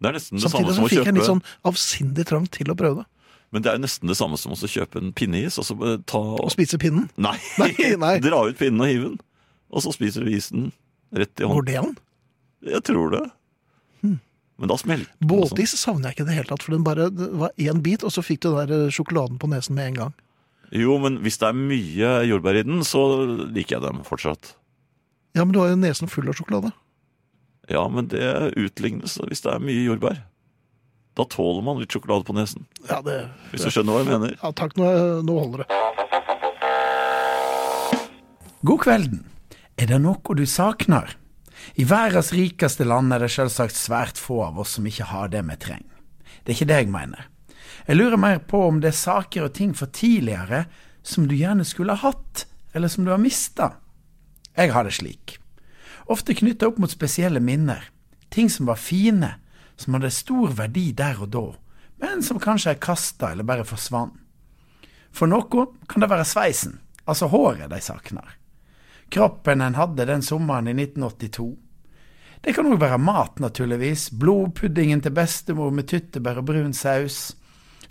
C: Det er nesten det
B: Samtidig
C: samme som
B: så
C: å
B: fikk jeg en
C: kjøpe
B: litt sånn avsindig trang til å prøve det.
C: Men det er nesten det samme som å kjøpe en pinneis og så eh, ta
B: Å spise pinnen.
C: (laughs) Nei,
B: Nei, nei.
C: dra ut pinnen og hive den. Og så spiser du isen rett i
B: Går
C: hånden.
B: det an?
C: Jeg tror det. Hmm. Men da smelter den og sånn.
B: Båtis savner jeg ikke i det hele tatt, for den bare det var én bit, og så fikk du den der eh, sjokoladen på nesen med en gang.
C: Jo, men hvis det er mye jordbær i den, så liker jeg dem fortsatt.
B: Ja, men du har jo nesen full av sjokolade.
C: Ja, men det utlignes hvis det er mye jordbær. Da tåler man litt sjokolade på nesen.
B: Ja, det
C: Hvis du skjønner hva jeg mener.
B: Ja, takk, nå, nå holder det.
E: God kvelden. Er det noe du savner? I verdens rikeste land er det selvsagt svært få av oss som ikke har det vi trenger. Det er ikke det jeg mener. Jeg lurer mer på om det er saker og ting fra tidligere som du gjerne skulle ha hatt, eller som du har mista. Jeg har det slik. Ofte knytta opp mot spesielle minner. Ting som var fine, som hadde stor verdi der og da, men som kanskje er kasta eller bare forsvant. For noen kan det være sveisen, altså håret de savner. Kroppen en hadde den sommeren i 1982. Det kan òg være mat, naturligvis. Blodpuddingen til bestemor med tyttebær og brun saus.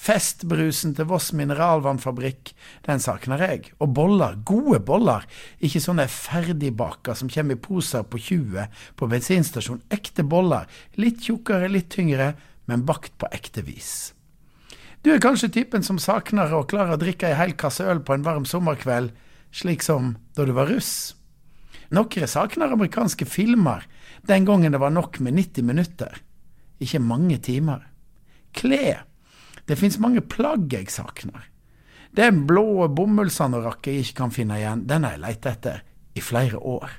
E: Festbrusen til Voss mineralvannfabrikk, den savner jeg. Og boller, gode boller, ikke sånne ferdigbaka som kommer i poser på 20 på bensinstasjon. Ekte boller, litt tjukkere, litt tyngre, men bakt på ekte vis. Du er kanskje typen som savner å klare å drikke ei hel kasse øl på en varm sommerkveld, slik som da du var russ. Noen savner amerikanske filmer, den gangen det var nok med 90 minutter. Ikke mange timer. Klær. Det fins mange plagg jeg savner. Den blå bomullsanorakken jeg ikke kan finne igjen, den har jeg lett etter i flere år.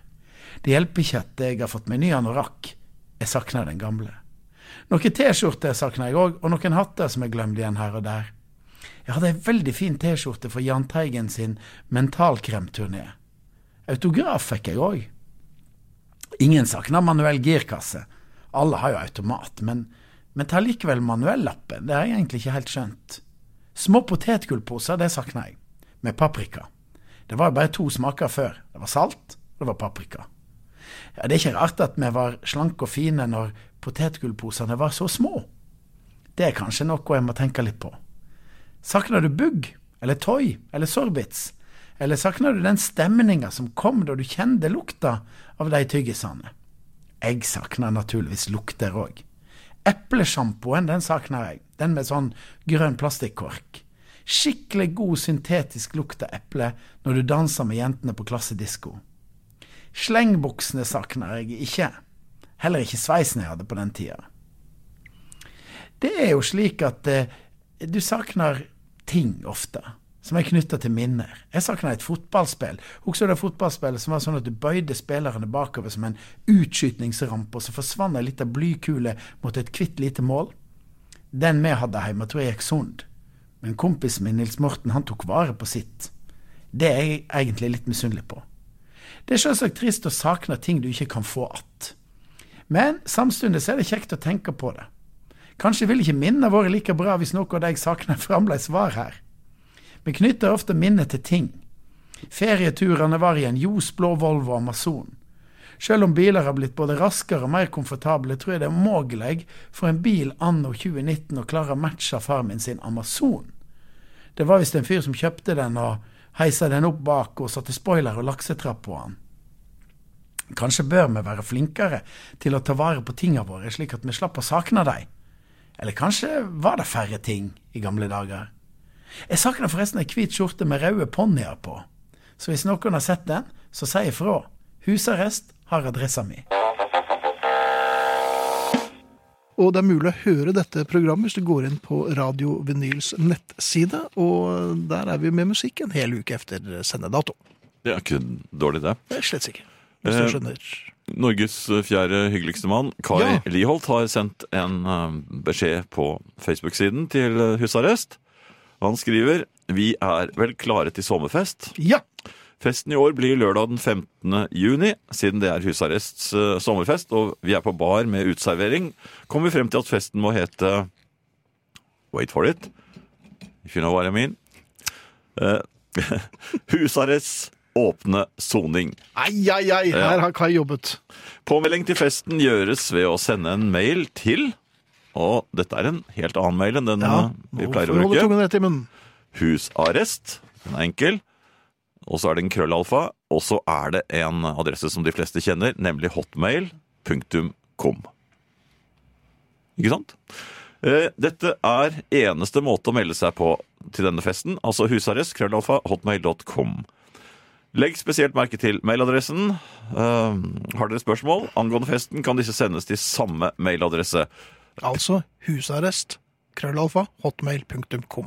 E: Det hjelper ikke at jeg har fått meg ny anorakk. Jeg savner den gamle. Noen T-skjorter savner jeg òg, og noen hatter som jeg glemte igjen her og der. Jeg hadde ei veldig fin T-skjorte for Jahn Teigen sin mentalkremturné. Autograf fikk jeg òg. Ingen savner manuell girkasse. Alle har jo automat, men, men tar likevel manuellappen. Det har jeg egentlig ikke helt skjønt. Små potetgullposer, det savner jeg. Med paprika. Det var jo bare to smaker før. Det var salt, og det var paprika. Ja, det er ikke rart at vi var slanke og fine når potetgullposene var så små. Det er kanskje noe jeg må tenke litt på. Savner du bugg, eller toy, eller sorbits? Eller savner du den stemninga som kom da du kjente lukta av de tyggisene? Jeg savner naturligvis lukter òg. Eplesjampoen, den savner jeg. Den med sånn grønn plastikkork. Skikkelig god syntetisk lukt av eple når du danser med jentene på klassedisko. Slengbuksene savner jeg ikke. Heller ikke sveisen jeg hadde på den tida. Det er jo slik at eh, du savner ting ofte, som er knytta til minner. Jeg savner et fotballspill. Husker du det fotballspillet som var sånn at du bøyde spillerne bakover som en utskytningsrampe, og så forsvant ei lita blykule mot et kvitt lite mål? Den vi hadde hjemme, tror jeg gikk sund. Men kompisen min Nils Morten, han tok vare på sitt. Det er jeg egentlig litt misunnelig på. Det er selvsagt trist å savne ting du ikke kan få att. Men samtidig er det kjekt å tenke på det. Kanskje ville ikke minnene våre like bra hvis noe av det jeg savner, fremdeles var her. Vi knytter ofte minnet til ting. Ferieturene var i en ljusblå Volvo Amazon. Selv om biler har blitt både raskere og mer komfortable, tror jeg det er umulig for en bil anno 2019 å klare å matche far min sin Amazon. Det var visst en fyr som kjøpte den og heisa den opp bak og satte spoiler og laksetrapp på han. Kanskje bør vi være flinkere til å ta vare på tinga våre, slik at vi slapp å sakne dem. Eller kanskje var det færre ting i gamle dager? Jeg savner forresten ei hvit skjorte med røde ponnier på. Så hvis noen har sett den, så si ifra. Husarrest har adressa mi.
B: Og det er mulig å høre dette programmet hvis du går inn på Radio Vinyls nettside. Og eh, der er vi med musikk en hel uke etter sendedato.
C: Det er ikke dårlig, det.
B: Det er slett ikke. Hvis du
C: Eh,
B: skjønner.
C: Norges eh, fjerde hyggeligste mann, Kai
B: Ja.
C: Liholt, har sendt en eh, beskjed på Facebook-siden til eh, husarrest. Han skriver Vi er vel klare til sommerfest.
B: Ja!
C: Festen i år blir lørdag den 15. juni, siden det er husarrests eh, sommerfest, og vi er på bar med uteservering. Kommer vi frem til at festen må hete Wait for it. If you know what I mean. Eh, (laughs) husarrests åpne soning.
B: Ai, ai, ai! Her har Kai jobbet.
C: Påmelding til festen gjøres ved å sende en mail til Og dette er en helt annen mail enn den
B: Ja,
C: eh, vi
B: nå
C: pleier
B: får
C: å
B: holde
C: bruke.
B: tungen rett i munnen.
C: Husarrest. Den er enkel. Og så er det en krøllalfa. Og så er det en adresse som de fleste kjenner, nemlig hotmail.com. Ikke sant? Eh, Dette er eneste måte å melde seg på til denne festen. Altså husarrest, krøllalfa, hotmail.com. Legg spesielt merke til mailadressen. Eh, har dere spørsmål angående festen, kan disse sendes til samme mailadresse.
B: Altså husarrest. Krøllalfa. Hotmail.com.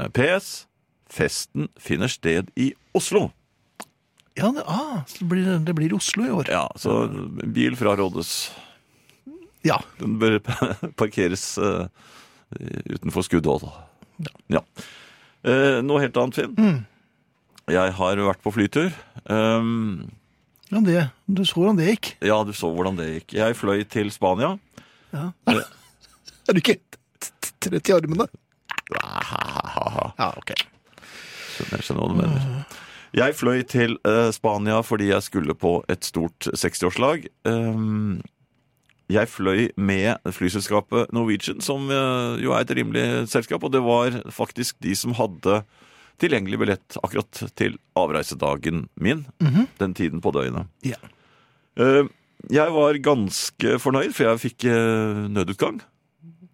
C: Eh, PS. Festen finner sted i Oslo.
B: Ja, det, ah, så det, blir, det blir Oslo i år.
C: Ja, så bil frarådes.
B: Ja.
C: Den bør (laughs) parkeres eh, utenfor skuddhold. Ja. Eh, noe helt annet, Finn. Jeg har vært på flytur. Um,
B: ja det, du så hvordan det gikk.
C: ja, du så hvordan det gikk. Jeg fløy til Spania.
B: Er du ikke t- t- trett i armene? Ja, ok.
C: Skjønner, jeg skjønner hva du mener. Jeg fløy til eh, Spania fordi jeg skulle på et stort 60-årslag. Um, jeg fløy med flyselskapet Norwegian, som eh, jo er et rimelig selskap, og det var faktisk de som hadde tilgjengelig billett akkurat til avreisedagen min, den tiden på døgnet.
B: Ja.
C: Eh, Jeg var ganske fornøyd, for jeg fikk eh, nødutgang.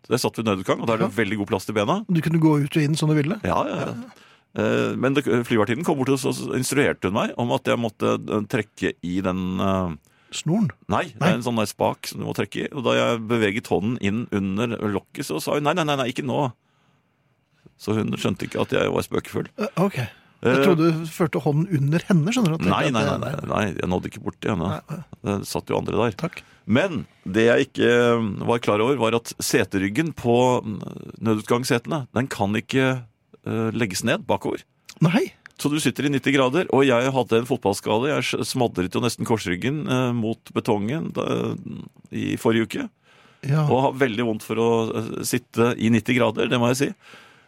C: Jeg satt ved nødutgang, og da er det veldig god plass til bena.
B: Du kunne gå ut og inn som du ville?
C: Ja, ja, ja. Eh, Men det- flyvertinnen kom bort og så- så instruerte hun meg om at jeg måtte eh, trekke i den eh,
B: Snoren?
C: Nei, det
B: Nei.
C: er en sånn der spak som du må trekke i. Og da jeg beveget hånden inn under lokket, så sa hun nei, nei, nei, nei ikke nå. Så hun skjønte ikke at jeg var spøkefull.
B: Eh, Ok.
C: Eh,
B: Jeg trodde du førte hånden under henne, skjønner du. at-
C: Nei, nei, nei,
B: at-
C: nei, nei jeg nådde ikke borti henne. Det satt jo andre der.
B: Takk.
C: Men det jeg ikke eh, var klar over, var at seteryggen på eh, nødutgangssetene, den kan ikke eh, legges ned bakover.
B: Nei?
C: Så du sitter i 90 grader, og jeg hadde en fotballskade. Jeg s- smadret jo nesten korsryggen eh, mot betongen da, i forrige uke.
B: Ja.
C: Og har veldig vondt for å eh, sitte i 90 grader, det må jeg si.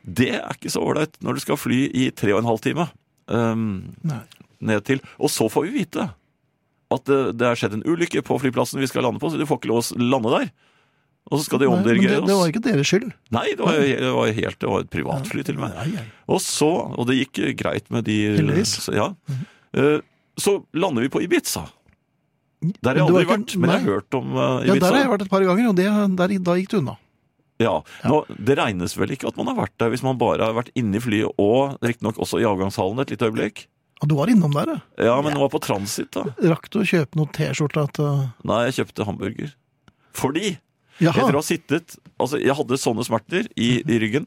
C: Det er ikke så ålreit når du skal fly i 3,5 time ehm,
B: Nei.
C: ned til. Og så får vi vite at det, det er skjedd en ulykke på flyplassen vi skal lande på, så du får ikke lov å lande der. Og så skal de
B: Nei, men det,
C: omdirigere
B: det var
C: oss.
B: ikke deres skyld.
C: Nei, det var, det var helt, det var et privatfly til og med.
B: Nei, nei.
C: Og så, og det gikk eh, greit med de
B: Heldigvis.
C: Så, ja. Eh, så lander vi på Ibiza. Der
B: Men det
C: har jeg
B: var
C: aldri
B: ikke-
C: vært, men jeg har
B: nei.
C: hørt om eh,
B: Ja,
C: Ibiza.
B: der har jeg vært et par ganger, og det, der, da gikk det unna.
C: Ja. Nå, det regnes vel ikke at man har vært der hvis man bare har vært inne i flyet og riktignok også i avgangshallen et lite øyeblikk?
B: Ja, du var innom der, ja.
C: Ja, men nå er på transit, da.
B: Rakk du å kjøpe noen T-skjorter til
C: Nei, jeg kjøpte hamburger. Fordi
B: Jaha.
C: etter å ha sittet Altså, jeg hadde sånne smerter i, i ryggen.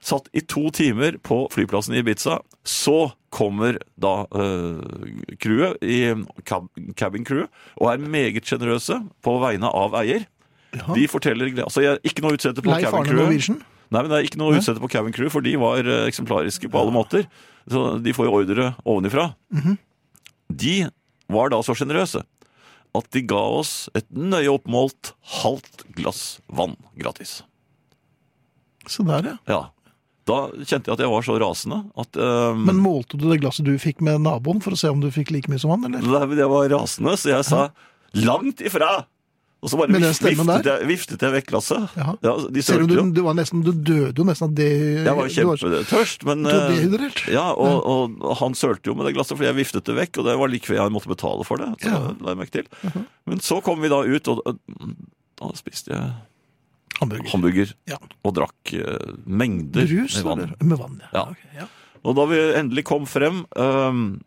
C: Satt i to timer på flyplassen i Ibiza. Så kommer da eh, crewet, i cab, cabin crew, og er meget sjenerøse på vegne av eier.
B: Ja.
C: De forteller Altså, jeg, ikke noe utsette på
B: Leif
C: cabin
B: Arne
C: crewet.
B: Norwegian?
C: Nei, men det er ikke noe å
B: Nei.
C: utsette på cabin crew, for de var eh, eksemplariske på alle måter. Så de får jo ordre ovenifra.
B: Mhm.
C: De var da så sjenerøse at de ga oss et nøye oppmålt halvt glass vann gratis.
B: Se der, ja.
C: Ja. Da kjente jeg at jeg var så rasende at eh,
B: Men målte du det glasset du fikk med naboen, for å se om du fikk like mye som han, eller?
C: Nei, men jeg var rasende, så jeg sa 'langt ifra'! Og så bare
B: Med den
C: vif-
B: stemmen
C: viftet
B: der?
C: jeg, viftet jeg vekk glasset.
B: Jaha.
C: Ja, de
B: Selv om
C: sølte
B: du,
C: jo.
B: du, var nesten, du døde jo nesten av det
C: Jeg
B: du
C: var jo kjempetørst, men
B: Du var
C: eh,
B: dehydrert.
C: Ja, og, og han sølte jo med det glasset, fordi jeg viftet det vekk, og det var like før jeg måtte betale for det. Så
B: Ja. Mhm.
C: det la jeg merke til. Men så kom vi da ut, og og da spiste jeg
B: Hamburger.
C: hamburger
B: Ja.
C: og drakk eh, mengder
B: Brus,
C: med vann.
B: eller? Med vann, ja.
C: Ja.
B: Ok, ja.
C: Og da vi endelig kom frem, ehm,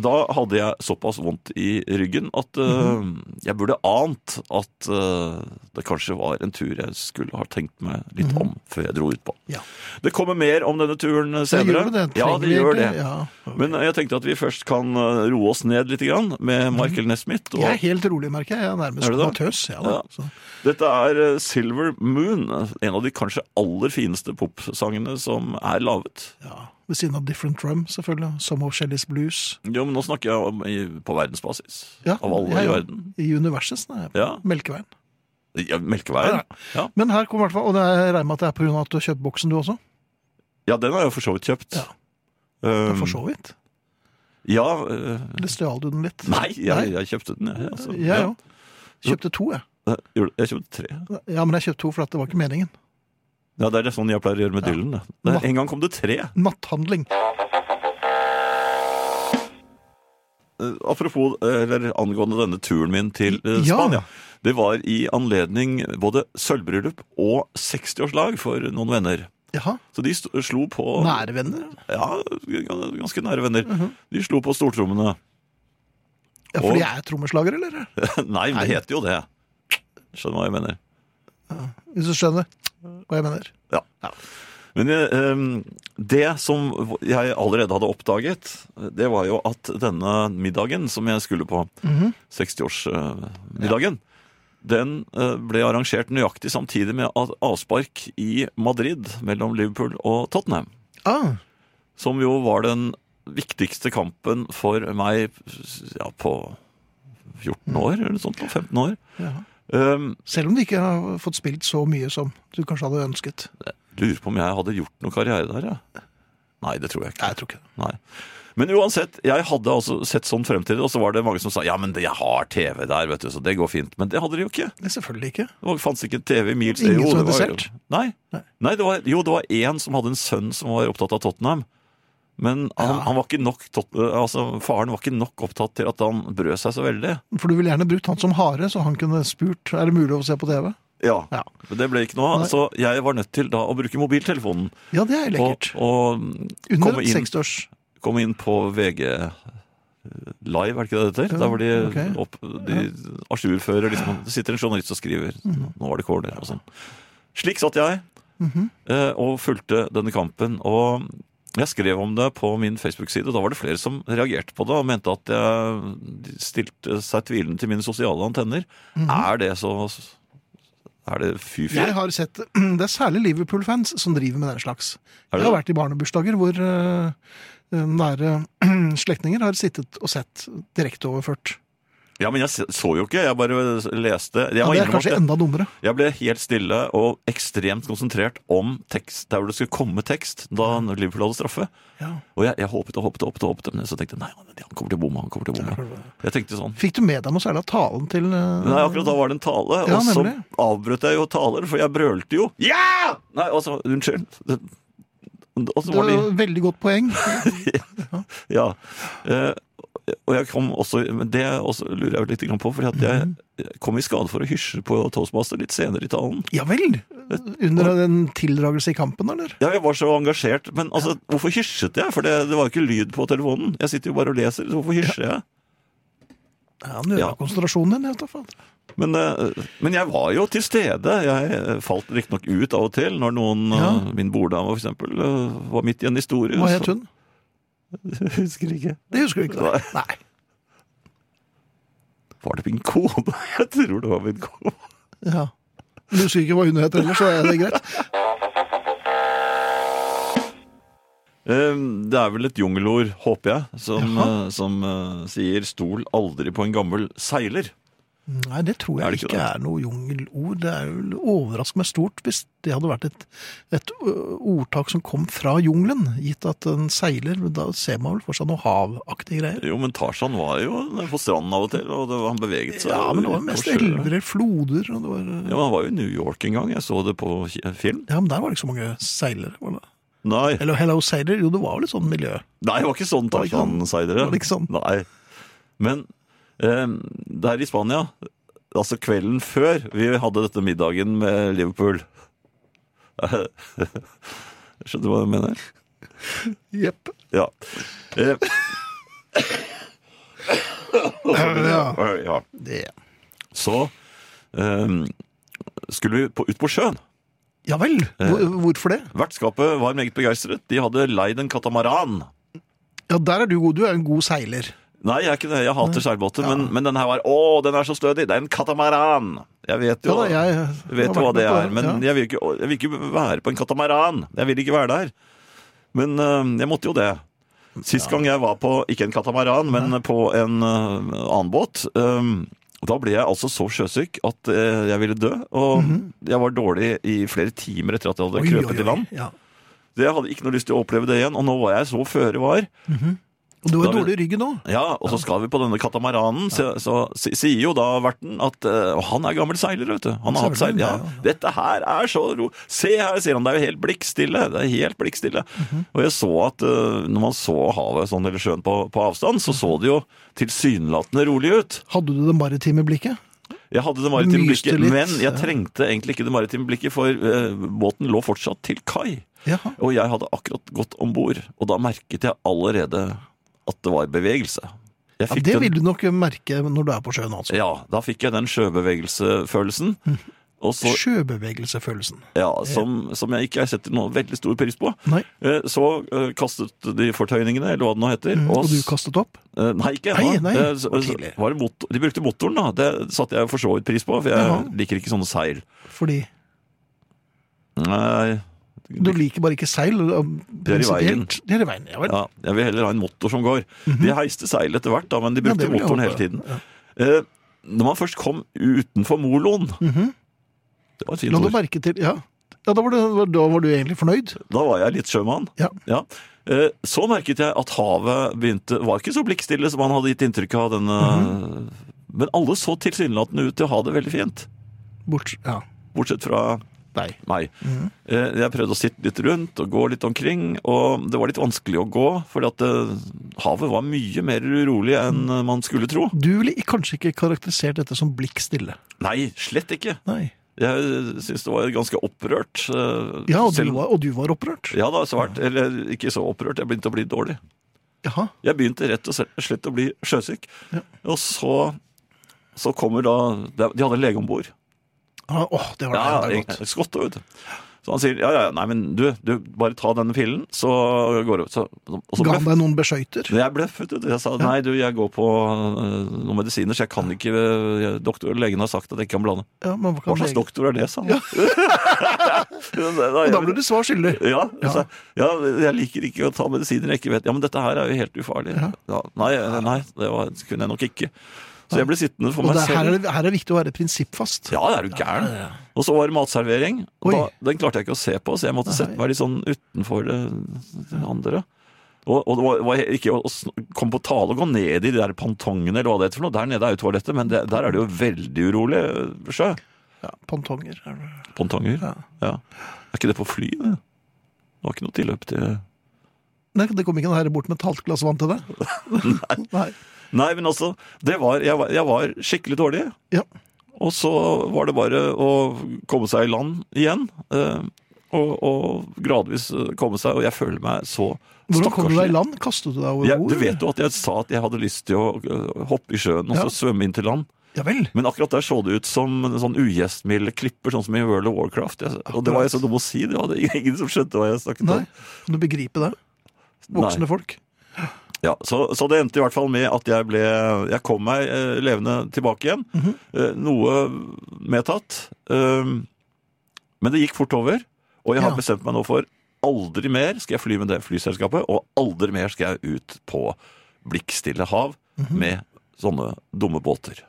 C: da hadde jeg såpass vondt i ryggen at ehm,
B: Mhm.
C: jeg burde ant at eh, det kanskje var en tur jeg skulle ha tenkt meg litt om før jeg dro ut på.
B: Mhm. Ja.
C: Det kommer mer om denne turen eh,
B: Så
C: senere.
B: gjør du det?
C: ja,
B: Trenger
C: det
B: vi
C: gjør det.
B: egentlig? Ja.
C: Men eh, jeg tenkte at vi først kan eh, roe oss ned litt grann med Michael Nesmith.
B: Mhm. Jeg er
C: Og
B: helt rolig, merker jeg. Jeg er nærmest
C: Er du det?
B: amatøs. Ja, da.
C: Ja.
B: Så.
C: dette er eh, Silver Moon, eh, en av de kanskje aller fineste popsangene som er laget.
B: Ja. Ved siden av Different Drum, selvfølgelig. Some of Shelley's Blues.
C: Jo, men nå snakker jeg om i, på verdensbasis.
B: Ja,
C: Av alle
B: ja,
C: i
B: ja.
C: verden.
B: I universet, sånn er jeg.
C: Ja.
B: Melkeveien.
C: ja Melkeveien. Ja.
B: Men her kommer i hvert fall, og det er, jeg regner med at det er på grunn av at du har kjøpt boksen du
C: Mm.
B: også?
C: ja, den har jeg for så vidt kjøpt.
B: Ja.
C: Um,
B: For så vidt.
C: Ja eh,
B: Eller stjal du den litt?
C: Nei, jeg,
B: Nei.
C: jeg kjøpte den, jeg. Altså.
B: Jeg òg. Kjøpte to, jeg.
C: Ja. Eh, Gjorde- Jeg kjøpte tre.
B: Ja, men jeg kjøpte to for at det var ikke meningen.
C: Ja, Det er det sånn jeg pleier å gjøre med Dylan. det. Det- En gang kom det tre.
B: Natthandling.
C: Eh, apropos, eh, eller angående denne turen min til eh,
B: Ja.
C: Spania. Det var i anledning både sølvbryllup og 60-årslag for noen venner.
B: Jaha.
C: Så de sto- slo på
B: Nære venner?
C: Ja, gans- ganske nære venner.
B: Mhm.
C: De slo på stortrommene. (laughs)
B: Ja,
C: Og-
B: fordi jeg er trommeslager, eller?
C: Nei, men
B: Nei.
C: det heter jo det. Skjønner hva jeg mener.
B: Hvis du skjønner hva jeg mener.
C: Men eh, em, det som jeg allerede hadde oppdaget, det var jo at denne middagen som jeg skulle på, 60-årsmiddagen. Den eh, ble arrangert nøyaktig samtidig med at avspark i Madrid mellom Liverpool og Tottenham.
B: Ah,
C: Som jo var den viktigste kampen for meg ja, på 14 år, eller noe sånt, nå, 15 år.
B: ja.
C: Um,
B: Selv om de ikke har fått spilt så mye som du kanskje hadde ønsket.
C: lurer på om jeg hadde gjort noe karriere der, jeg. Nei, det tror jeg ikke.
B: Nei, jeg tror ikke det.
C: Nei. Men uansett, jeg hadde altså sett sånn frem til det, og så var det mange som sa ja, men jeg har TV der, vet du, så det går fint. Men det hadde de jo ikke.
B: Nei, selvfølgelig ikke.
C: Det var- fantes ikke TV i Mils
B: Ingen
C: Jo,
B: som
C: det var-
B: interessert?
C: Nei.
B: Nei.
C: Nei det var, jo, det var én som hadde en sønn som var opptatt av Tottenham. Men han,
B: Ja.
C: han var ikke nok, tot- altså, faren var ikke nok opptatt til at han brød seg så veldig.
B: For du ville gjerne brukt han som hare, så han kunne spurt er det mulig å se på TV.
C: Ja.
B: Ja,
C: Men det ble ikke noe av,
B: Nei.
C: så jeg var nødt til da å bruke mobiltelefonen.
B: ja det er
C: Og,
B: lekkert.
C: og mm,
B: Under
C: komme inn-
B: 60-års.
C: komme inn på VG eh, Live, er det ikke det det heter?
B: Ja,
C: Der hvor de,
B: ok.
C: opp, de ajourfører liksom, Det sitter en journalist og skriver.
B: Mhm.
C: Nå var det corner og sånn. Slik satt jeg eh, og fulgte denne kampen. Og jeg skrev om det på min Facebook-side. Da var det flere som reagerte på det og mente at jeg de stilte seg tvilende til mine sosiale antenner. Er det så Er det fy-fy?
B: Mhm. Jeg har sett (clears throat) Det er særlig Liverpool-fans som driver med den slags.
C: Er det
B: Jeg har
C: det?
B: vært i barnebursdager hvor eh, nære (clears throat) slektninger har sittet og sett direkteoverført.
C: Ja, men jeg se- så jo ikke. Jeg bare leste. Jeg
B: Ja,
C: må
B: det er
C: innrømme at
B: kanskje
C: jeg-
B: enda dummere.
C: Jeg ble helt stille og ekstremt konsentrert om tekst, der hvor det skulle komme tekst da Liverpool hadde straffe.
B: Ja.
C: Og jeg, jeg håpet og håpet og håpet, og håpet, men så tenkte jeg nei, han kommer til å bomme. han kommer til å bomme. Jeg tenkte sånn.
B: Fikk du med deg noe særlig av talen til eh,
C: Nei, akkurat da var det en tale,
B: Ja,
C: og så
B: nemlig.
C: avbrøt jeg jo taler, for jeg brølte jo. Ja! Nei, altså, unnskyld. Det- Og så
B: Det
C: var
B: var
C: de (laughs)
B: Veldig godt poeng.
C: Ja. Eh, og jeg kom også, men det også lurer jeg jo litt grann på, fordi at jeg
B: Mhm.
C: kom i skade for å hysje på toastmaster litt senere i talen.
B: Ja vel! Under en tildragelse i kampen, eller?
C: Ja, jeg var så engasjert, men altså, hvorfor hysjet jeg? For det, det var jo ikke lyd på telefonen. Jeg sitter jo bare og leser, så hvorfor hysjer jeg?
B: Ja, Nå ødela
C: Ja.
B: konsentrasjonen din, vet du faen.
C: Men, eh, men jeg var jo til stede. Jeg eh, falt riktignok ut av og til når noen,
B: Ja.
C: eh, min borddame f.eks., eh, var midt i en historie.
B: Hva het
C: så-
B: hun?
C: (laughs) Husker ikke.
B: Det husker du ikke? da. Nei.
C: Var det min kone? (laughs) Jeg tror det var min kone.
B: Ja. Men Du husker ikke hva hun het heller, så er det greit.
C: Eh, Det er vel et jungelord, håper jeg, som, eh, som eh, sier 'stol aldri på en gammel seiler'.
B: Nei, det tror jeg
C: Er det ikke
B: ikke,
C: det?
B: er noe jungelord. Det er jo overraskende stort hvis det hadde vært et, et ø, ordtak som kom fra jungelen, gitt at en seiler Da ser man vel for seg noe havaktige greier.
C: Jo, men Tarzan var jo på stranden av og til, og det, han beveget seg.
B: Ja, men det var mest
C: på sjøen.
B: elver eller floder. Og det var,
C: Ja, men Han var jo i New York en gang. Jeg så det på ki- film.
B: ja, men der var det ikke så mange seilere. var det?
C: Nei,
B: Eller Hello Sailor, jo det var vel et sånt miljø.
C: Nei det var ikke sånn
B: Var det ikke sånn?
C: Tarzan-seilere.
B: Var det ikke sånn?
C: Nei. Men eh, der i Spania, altså kvelden før vi hadde dette middagen med Liverpool (laughs) Skjønner du hva jeg mener?
B: Jepp.
C: Ja. Eh,
B: Ja.
C: ja.
B: Det.
C: Så eh, skulle vi på, ut på sjøen.
B: Ja vel, hvor, hvorfor det?
C: Vertskapet var meget begeistret. De hadde leid en katamaran.
B: Ja, der er du god, du er en god seiler.
C: Nei, jeg, er ikke det. jeg hater seilbåter, men, men den her var Å, den er så stødig! Det er en katamaran! Jeg vet
B: Ja
C: jo,
B: da, jeg
C: jeg vet jo hva det er, men jeg, vil ikke, jeg vil ikke være på en katamaran. Jeg vil ikke være der. Men øh, jeg måtte jo det. Sist gang jeg var på ikke en katamaran, men på en øh, annen båt, øh, da ble jeg altså så sjøsyk at øh, jeg ville dø. Og
B: Mhm.
C: jeg var dårlig i flere timer etter at jeg hadde krøpet i land.
B: Ja.
C: Så jeg hadde ikke noe lyst til å oppleve det igjen, og nå var jeg så føre var.
B: Og du har
C: Da vil-
B: dårlig rygg nå.
C: Ja, og så skal vi på denne katamaranen, så, så si- sier jo da verten at eh, og Han er gammel seiler, vet du. Han har hatt
B: Selvfølgelig,
C: seil. Ja,
B: ja,
C: dette her er så ro... Se her, sier han. Det er jo helt blikkstille. Det er helt blikkstille.
B: Mhm.
C: Og jeg så at eh, når man så havet sånn, eller sjøen på, på avstand, så så det jo tilsynelatende rolig ut.
B: Hadde du det maritime blikket?
C: Jeg hadde det maritime
B: Myste
C: blikket,
B: litt,
C: men jeg
B: ja.
C: trengte egentlig ikke det maritime blikket, for eh, båten lå fortsatt til kai.
B: Jaha.
C: Og jeg hadde akkurat gått om bord, og da merket jeg allerede at det var bevegelse. Jeg
B: Ja,
C: fikk
B: det
C: den-
B: vil du nok merke når du er på sjøen, altså.
C: Ja, da fikk jeg den sjøbevegelsefølelsen. Og så,
B: Sjøbevegelsefølelsen.
C: ja, som, som jeg ikke setter noe veldig stor pris på.
B: Nei.
C: Eh, Så eh, kastet de fortøyningene, eller hva det nå heter.
B: Mm, Og du
C: s-
B: kastet opp?
C: eh, Nei, ikke ennå.
B: Nei, nei,
C: Eh, så-
B: for
C: så
B: tidlig.
C: var det motor, de brukte motoren, da. Det satte jeg for så vidt pris på, for jeg
B: Jaha.
C: liker ikke sånne seil.
B: Fordi
C: Nei,
B: du liker bare ikke seil? og-
C: Det er i veien.
B: prinsipielt. Det er i veien, ja vel.
C: ja, jeg vil heller ha en motor som går. De heiste seil etter hvert, da, men de
B: Mhm. Ja,
C: brukte
B: det vil jeg
C: motoren hele
B: håpe.
C: tiden. Eh, Når man først kom utenfor moloen Det var et fint
B: La Mhm. du
C: ord.
B: merke til Ja, ja da, var du, da var du egentlig fornøyd?
C: Da var jeg litt sjømann.
B: Ja.
C: Ja. Eh, Så merket jeg at havet begynte, var ikke så blikkstille som han hadde gitt inntrykk av. denne...
B: Mhm.
C: Men alle så tilsynelatende ut til å ha det veldig fint,
B: Bort Ja.
C: bortsett fra
B: Nei.
C: meg.
B: Mhm.
C: Eh, Jeg prøvde å sitte litt rundt og gå litt omkring, og det var litt vanskelig å gå, fordi at eh, havet var mye mer urolig enn
B: Mhm.
C: eh, man skulle tro.
B: Du ville kanskje ikke karakterisert dette som blikk stille?
C: Nei, slett ikke.
B: Nei.
C: Jeg eh, syns det var ganske opprørt. eh,
B: Ja, og du
C: selv-
B: var, og du var opprørt?
C: Ja da, svært. Eller ikke så opprørt, jeg begynte å bli dårlig.
B: Jaha.
C: Jeg begynte rett og slett å bli sjøsyk.
B: Ja.
C: Og så, så kommer da De hadde en lege om bord.
B: Ah, Åh, det var det
C: Ja,
B: enda
C: en-
B: godt.
C: en skotte, vet du. Så han sier ja, ja, ja, nei, men du, du bare ta denne pillen, så går det så, Og så
B: Ga han
C: bløff.
B: deg noen beskøyter?
C: Jeg bløffet, vet du. Jeg sa nei, du, jeg går på øh, noen medisiner, så jeg kan ikke øh, doktor, Legen har sagt at jeg ikke kan blande.
B: Ja, men hva kan
C: Hva
B: lege-
C: slags doktor er det, sa (laughs) han.
B: Og da ble du svar skyldig.
C: Ja, altså, ja, jeg liker ikke å ta medisiner jeg ikke vet. Ja, men dette her er jo helt ufarlig.
B: Ja.
C: Ja, nei, nei, det var, kunne jeg nok ikke. Så jeg ble sittende for
B: Og
C: meg
B: det, her,
C: selv.
B: er det, her er det viktig å være prinsippfast.
C: Ja, er du gæren? Og så var det matservering. Og
B: Oi.
C: da, den klarte jeg ikke å se på, så jeg måtte sette meg litt sånn utenfor det, det andre. Og, og det var, var ikke å sn- komme på tale og gå ned i de der pantongene eller hva det heter for noe. Der nede er jo toalettet, men det, der er det jo veldig urolig eh, sjø.
B: Ja, Pantonger. er det-
C: Pontonger. Ja. Er ikke det på fly, det? Det var ikke noe tilløp til
B: Nei, det kom ikke noe her bort med et halvt glass vann til deg? (laughs) Nei.
C: Nei, men altså, det var, jeg, var, jeg var skikkelig dårlig.
B: Ja.
C: Og så var det bare å komme seg i land igjen. eh, Og, og gradvis eh, komme seg Og jeg føler meg så
B: Hvordan kom du deg i
C: stakkarslig.
B: land? Kastet du deg over
C: Jeg,
B: bord?
C: du vet jo at jeg sa at jeg hadde lyst til å eh, hoppe i sjøen og
B: Ja.
C: så svømme inn til land.
B: Ja vel.
C: Men akkurat der så det ut som en sånn ugjestmilde klipper, sånn som i World of Warcraft. Jeg, og det var jeg så dum å si, det var det ingen som skjønte hva jeg snakket
B: Nei.
C: om.
B: Kan du begripe det?
C: Nei.
B: Voksne folk?
C: Ja, så, så det endte i hvert fall med at jeg, ble, jeg kom meg eh, levende tilbake igjen.
B: Mhm.
C: eh, noe medtatt. eh, men det gikk fort over, og jeg har
B: Ja.
C: bestemt meg nå for aldri mer skal jeg fly med det flyselskapet, og aldri mer skal jeg ut på blikkstille hav
B: Mhm.
C: med sånne dumme båter.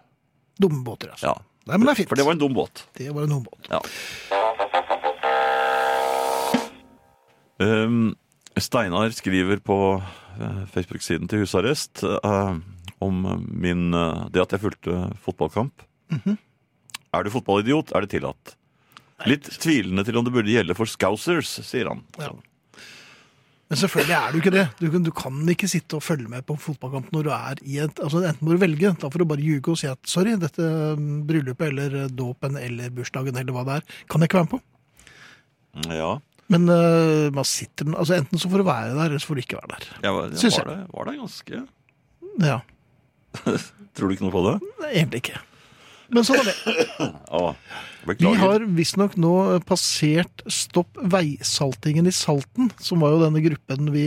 B: Dumme båter, altså.
C: Ja.
B: Nei, men det er fint.
C: For det var en dum båt.
B: Det var en dum båt.
C: Ja. Um, Steinar skriver på eh, Facebook-siden til husarrest eh, om min, eh, det at jeg fulgte fotballkamp. Er du fotballidiot, er det tillatt. Litt tvilende til om det burde gjelde for scousers, sier han.
B: Ja. Men selvfølgelig er du ikke det. Du kan, du kan ikke sitte og følge med på en fotballkamp når du er i et altså Enten må du velge, da får du bare ljuge og si at sorry, dette mm, bryllupet eller dåpen eller bursdagen eller hva det er, kan jeg ikke være med på.
C: Ja,
B: Men øh, man sitter med- altså Enten så får du være der, eller så får du ikke være der.
C: jeg, var- jeg
B: Syns
C: var,
B: jeg.
C: det, var det ganske
B: Ja,
C: Tror du ikke noe på det?
B: Egentlig ikke. Men sånn er det.
C: Å,
B: Vi
C: beklager.
B: har visstnok nå passert Stopp veisaltingen i Salten, som var jo denne gruppen vi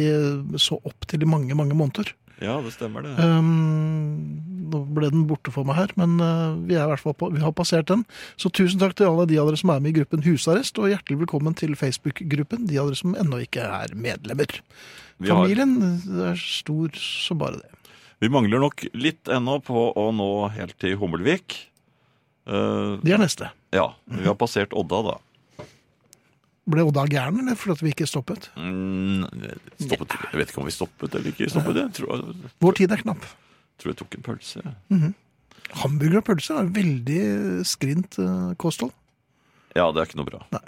B: så opp til i mange, mange måneder.
C: Ja, det stemmer det.
B: Ehm, nå ble den borte for meg her, men eh, vi, er i hvert fall på, vi har passert den. Så tusen takk til alle de av dere som er med i gruppen Husarrest, og hjertelig velkommen til Facebook-gruppen, de av dere som ennå ikke er medlemmer.
C: Vi har-
B: Familien er stor som bare det.
C: Vi mangler nok litt ennå på å nå helt til Hummelvik. Eh,
B: De er neste.
C: ja, vi har passert Odda, da.
B: Ble Odda gæren, eller fordi vi ikke stoppet?
C: Mm, stoppet, jeg vet ikke om vi stoppet eller ikke. stoppet Jeg tror, jeg
B: Vår tid er knapp.
C: tror jeg tok en pølse. jeg.
B: Hamburger og pølser er veldig skrint eh, kosthold.
C: Ja, det er ikke noe bra.
B: Nei.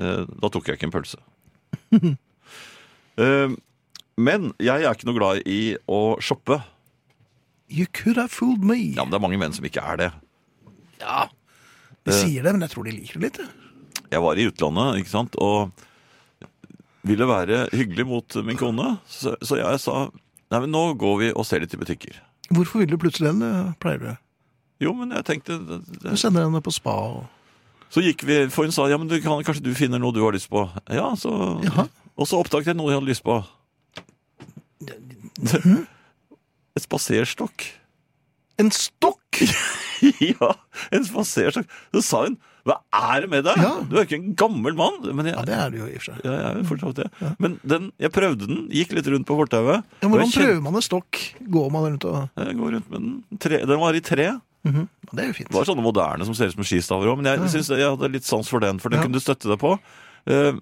C: Eh, Da tok jeg ikke en pølse. (laughs) Eh, Men jeg er ikke noe glad i å shoppe.
B: You could have fooled me.
C: Ja, men Det er mange menn som ikke er det.
B: Ja. De sier det, men jeg tror de liker det litt. jeg.
C: Jeg var i utlandet, ikke sant, og ville være hyggelig mot min kone, så, så jeg sa Nei, men nå går vi og ser litt i butikker.
B: Hvorfor vil du plutselig den, eh, pleier du?
C: Jo, men jeg tenkte det- det-
B: Du sender henne på spa og
C: Så gikk vi, for hun sa, ja, men du kan, kanskje du finner noe du har lyst på. Ja, så...
B: Jaha.
C: Og så oppdaget jeg noe jeg hadde lyst på. (laughs) Et spaserstokk. (laughs)
B: En stokk!
C: ja, en spaserstokk. Så sa hun, hva er det med deg?
B: Ja.
C: Du er ikke en gammel mann. Men jeg,
B: Ja, det er det jo i og for seg.
C: ja, jeg er jo fortsatt det. Men den, jeg prøvde den, gikk litt rundt på fortauet.
B: Ja,
C: og
B: hvordan
C: jeg kjen-
B: prøver man en stokk? Går man rundt og
C: Jeg går rundt med den. Tre, den var i tre.
B: Ja, Det er jo fint.
C: Det var sånne moderne som ser ut som skistaver òg, men jeg synes jeg hadde litt sans for den, for den
B: Ja.
C: kunne du støtte deg på. Eh,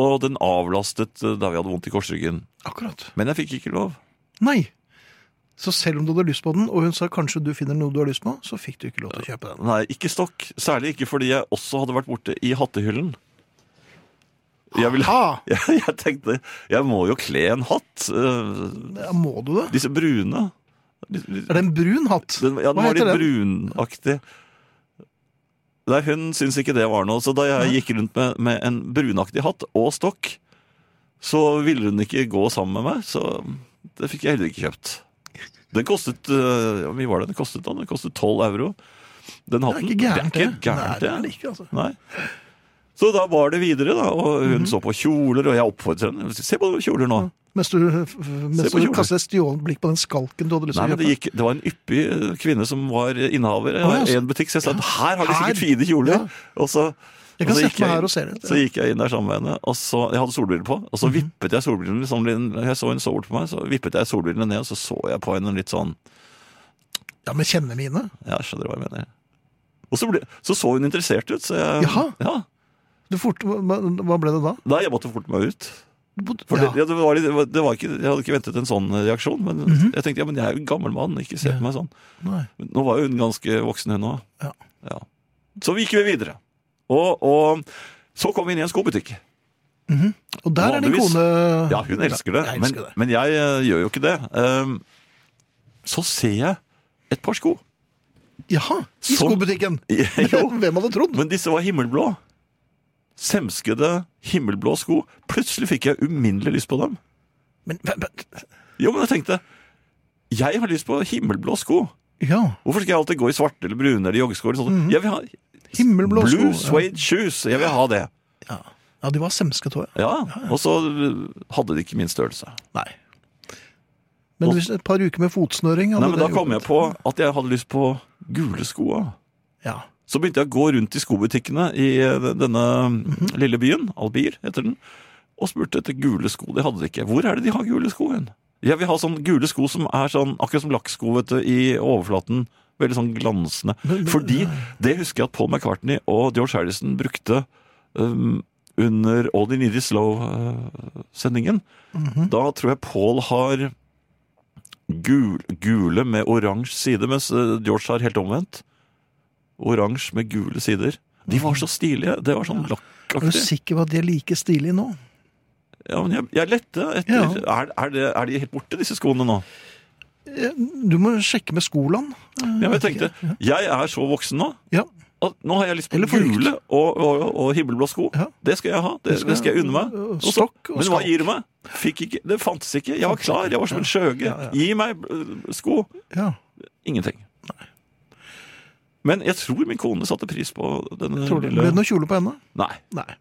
C: og den avlastet eh, der vi hadde vondt i korsryggen.
B: Akkurat.
C: Men jeg fikk ikke lov.
B: Nei. Så selv om du hadde lyst på den, og hun sa kanskje du finner noe du har lyst på, så fikk du ikke lov til å kjøpe den.
C: Nei, ikke stokk. Særlig ikke fordi jeg også hadde vært borte i hattehyllen. Jeg, ville, (laughs)
B: Ha!
C: jeg, jeg tenkte jeg må jo kle en hatt. eh,
B: Ja, må du det?
C: disse brune. De- de-
B: Er det en brun hatt?
C: Den, ja, den
B: Hva
C: var litt
B: heter den?
C: brunaktig. Nei, hun syntes ikke det var noe. Så da jeg gikk rundt med, med en brunaktig hatt og stokk, så ville hun ikke gå sammen med meg, så det fikk jeg heller ikke kjøpt. Den kostet eh, ja, Hvor mye var det den kostet? da? Den kostet 12 euro.
B: Det
C: Den
B: er
C: hatten.
B: ikke gærent,
C: det.
B: det.
C: er ikke
B: Nei,
C: gærent,
B: det er det
C: det.
B: ikke, altså.
C: Nei. Så da var det videre, da. Og hun
B: Mhm.
C: så på kjoler, og jeg oppfordret henne. Se på kjoler nå.
B: Mens du, f- f- mens
C: på
B: du
C: kjolen.
B: kastet et stjålent blikk på den skalken du hadde lyst
C: Nei,
B: til å
C: men det,
B: kjøpe.
C: gikk, det var en yppig eh, kvinne som var innehaver i
B: Å, ja, så-
C: en butikk. Så jeg sa her har de
B: Her?
C: sikkert fine kjoler.
B: Ja.
C: Og så,
B: Jeg kan
C: og så
B: sette meg her og se Mhm. det.
C: Så gikk jeg inn der sammen med henne. Og så, jeg hadde solbriller på, og så vippet jeg solbrillene liksom, litt- Jeg så hun så bort på meg, så vippet jeg solbrillene ned, og så så jeg på henne litt sånn
B: Ja, men kjenner mine.
C: Ja, skjønner hva jeg mener. Og så, ble, så så hun interessert ut, så jeg
B: Jaha.
C: Ja.
B: Du fort, hva, hva ble det da?
C: Nei, jeg måtte forte meg ut.
B: Du bodde-
C: For
B: ja.
C: det, ja, det var litt, det var- det var ikke, jeg hadde ikke ventet en sånn reaksjon, men
B: Mhm.
C: jeg tenkte ja, men jeg er jo en gammel mann, ikke se på meg sånn.
B: Nei.
C: Men Nå var jo hun ganske voksen, hun òg.
B: Ja.
C: Ja. Så vi gikk vi videre. Og, og så kom vi inn i en skobutikk.
B: Og der er din
C: Vanligvis.
B: kone
C: Ja, hun elsker det,
B: Jeg
C: men,
B: elsker det.
C: men jeg eh, gjør jo ikke det. Ehm, så ser jeg et par sko. (laughs)
B: Jaha, i
C: Som-
B: skobutikken!
C: Sånn. (laughs) Jo,
B: (laughs) Hvem hadde trodd?
C: men disse var himmelblå. Semskede, himmelblå sko. Plutselig fikk jeg uminnelig lyst på dem.
B: Men, men, men
C: Jo, men jeg tenkte Jeg har lyst på himmelblå sko.
B: Ja.
C: Hvorfor skal jeg alltid gå i svarte eller brune eller joggesko? Eller sånt? Jeg vil ha
B: Himmelblå Mhm. sko.
C: blue
B: ja.
C: suede shoes. Jeg vil ha det.
B: Ja. ja, de var semsket òg, ja.
C: Ja, Og så hadde de ikke min størrelse.
B: Nei. Men
C: Og-
B: hvis et par uker med fotsnøring hadde
C: Nei, men Da
B: det
C: kom jeg
B: hjulpet.
C: på at jeg hadde lyst på gule sko. også.
B: Ja.
C: Så begynte jeg å gå rundt i skobutikkene i eh, denne lille byen, Albir heter den, og spurte etter gule sko. De hadde de ikke. Hvor er det de har gule sko hen? Jeg vil ha sånn gule sko som er sånn, akkurat som lakksko vet du, i overflaten. Veldig sånn glansende.
B: Men- men-
C: Fordi det husker jeg at Paul McCartney og George Harrison brukte um, under All The Need Is eh, Slow-sendingen.
B: Mhm.
C: Da tror jeg Paul har gul, gule med oransje side, mens eh, George har helt omvendt. Oransje med gule sider. De var så stilige. Det var sånn
B: Er Mhm. du
C: lakkaktig.
B: sikker på at de er like stilige nå?
C: Ja, men jeg, jeg lette etter
B: Ja.
C: er, er, det, er de helt borte, disse skoene nå?
B: Eh, Du må sjekke med Skoland.
C: Ja, men jeg tenkte, jeg er så voksen nå
B: Ja.
C: at nå har jeg lyst på
B: Eller forrykt.
C: gule og, og, og himmelblå sko.
B: Ja.
C: Det skal jeg ha. Det, det,
B: skal
C: skal, jeg unne meg.
B: og
C: Og så-
B: stokk og
C: men hva
B: skalk.
C: gir du meg? Fikk ikke, det fantes ikke. Jeg var
B: Fantes
C: klar.
B: ikke.
C: Jeg var som en skjøge.
B: Ja, ja.
C: Gi meg eh, sko.
B: Ja.
C: Ingenting. Men jeg tror min kone satte pris på denne
B: Tror du det ble det noe kjole på henne?
C: Nei.
B: Nei.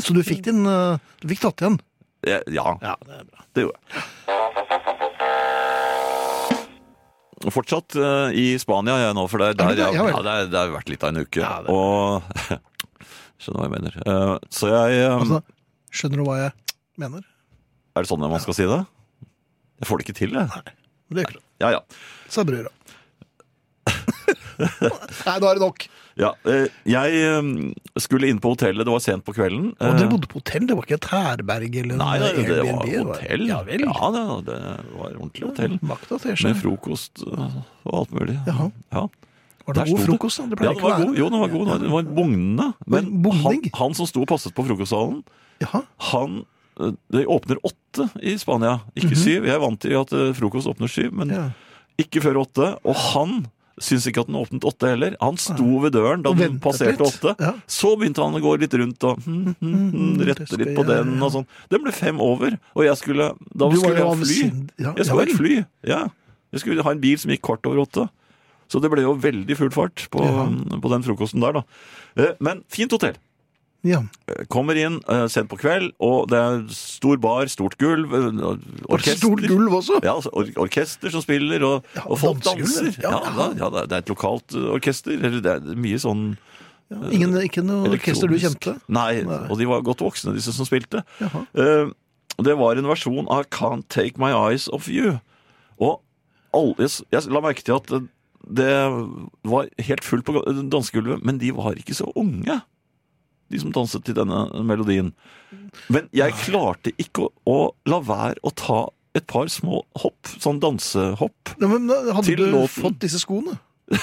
B: Så du fikk din eh, Du fikk tatt igjen?
C: Jeg- Ja,
B: Ja, det er bra.
C: det gjorde jeg. Og Fortsatt eh, i Spania jeg er nå, for det er
B: Er
C: der
B: du det?
C: jeg,
B: Ja vel.
C: ja, det er- det har vært litt av en uke.
B: Ja, det er-
C: og (laughs) Skjønner hva jeg mener. Eh, Så jeg eh,
B: Altså, skjønner du hva jeg mener?
C: Er det sånn man skal si det? Jeg får det ikke til, jeg.
B: Men Det gjør ikke det.
C: Ja, ja.
B: Sa brura. Nei, nå er det nok.
C: ja eh, jeg eh, skulle inn på hotellet, det var sent på kvelden.
B: Og dere
C: Eh,
B: bodde på hotell? Det var ikke et herberg eller en
C: Nei, nei, det var
B: Airbnb,
C: hotell.
B: Ja vel.
C: Ja, det, det var ordentlig hotell.
B: Vaktatasje.
C: Med frokost eh, og alt mulig.
B: Jaha.
C: Ja.
B: Var det
C: Der sto
B: god
C: det.
B: frokost? da? Det pleier
C: Ja, den
B: ikke å
C: var
B: være
C: god. Jo, den var god. Den var bugnende. Men han,
B: Bugning?
C: han som sto og passet på frokostsalen,
B: Jaha.
C: han eh, Det åpner åtte i Spania, ikke syv. Jeg er vant til at eh, frokost åpner syv, men
B: Mhm. Ja.
C: ikke før åtte. Og han syntes ikke at den åpnet åtte heller. Han sto ved døren da
B: Og
C: den
B: ventet
C: passerte
B: litt.
C: åtte.
B: Ja. Mm,
C: Så begynte han å gå litt rundt og hmm, hmm, hmm,
B: det
C: rette
B: skal
C: litt på
B: jeg
C: den
B: gjøre.
C: og sånn. Den ble fem over, og jeg skulle Da
B: Du var jo
C: skulle jeg fly.
B: avsind- ja,
C: Jeg skulle
B: ja
C: ha et fly. Ja. Jeg skulle ha en bil som gikk kvart over åtte. Så det ble jo veldig full fart på, hm, på den frokosten der, da. Eh, Men fint hotell.
B: Ja.
C: Eh, Kommer inn eh, sent på kveld, og det er stor bar, stort gulv, eh,
B: Var det stort gulv også?
C: ja, altså or orkester som spiller, og,
B: Ja,
C: og folk
B: dansegulvet.
C: danser.
B: Ja,
C: Ja,
B: ja.
C: da, ja, det er- det er et lokalt eh, orkester. Eller det er mye sånn
B: Ingen, ikke noe orkester du
C: elektronisk-
B: kjente?
C: Nei,
B: Nei.
C: og de var godt voksne, disse som spilte.
B: Jaha.
C: Eh, og det var en versjon av Can't Take My Eyes Off You. Og alle, jeg, s- jeg la merke til at eh, det var helt fullt på ga- eh, dansegulvet, men de var ikke så unge, de som danset til denne melodien. Men jeg klarte ikke å, å la være å ta et par små hopp, sånn dansehopp.
B: Ja, men da hadde
C: Til
B: du
C: låten.
B: fått disse skoene?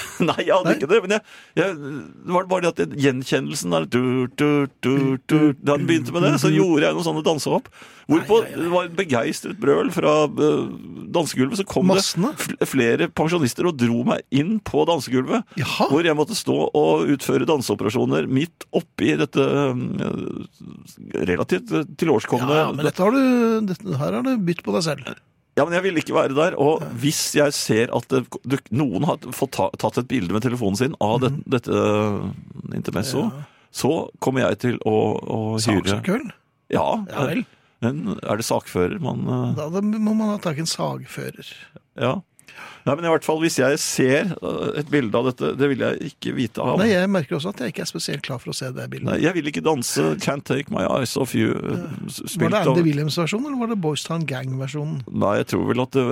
C: (laughs) Nei, jeg hadde
B: Nei.
C: ikke det, men jeg, jeg, det var bare det at jeg- gjenkjennelsen der du, du, du, du, Da den begynte med det, så gjorde jeg noen sånne dansehopp. Hvorpå det var et begeistret brøl fra eh, dansegulvet. Så kom
B: Massene?
C: det fl- flere pensjonister og dro meg inn på dansegulvet.
B: Jaha.
C: Hvor jeg måtte stå og utføre danseoperasjoner midt oppi dette eh, relativt eh, tilårskomne
B: Ja, men dette har du, dette, her har du bytt på deg selv.
C: Ja, men jeg ville ikke være der. Og hvis jeg ser at det, du, noen har fått ta, tatt et bilde med telefonen sin av det,
B: Mhm.
C: dette øh, intermezzo, så kommer jeg til å, å hyre
B: Saksøkøl?
C: Ja,
B: Ja vel.
C: men er det sakfører man øh,
B: Da, da må man ha tak i en sagfører.
C: Ja. Nei, men i hvert fall hvis jeg ser øh, et bilde av dette, det vil jeg ikke vite av.
B: Nei, jeg merker også at jeg ikke er spesielt klar for å se det bildet.
C: Nei, jeg vil ikke danse 'Can't Take My Eyes Off You' øh, s-
B: var
C: spilt
B: det
C: av
B: Andy Williams-versjonen, eller var det Boys Town Gang-versjonen?
C: Nei, jeg tror vel at det,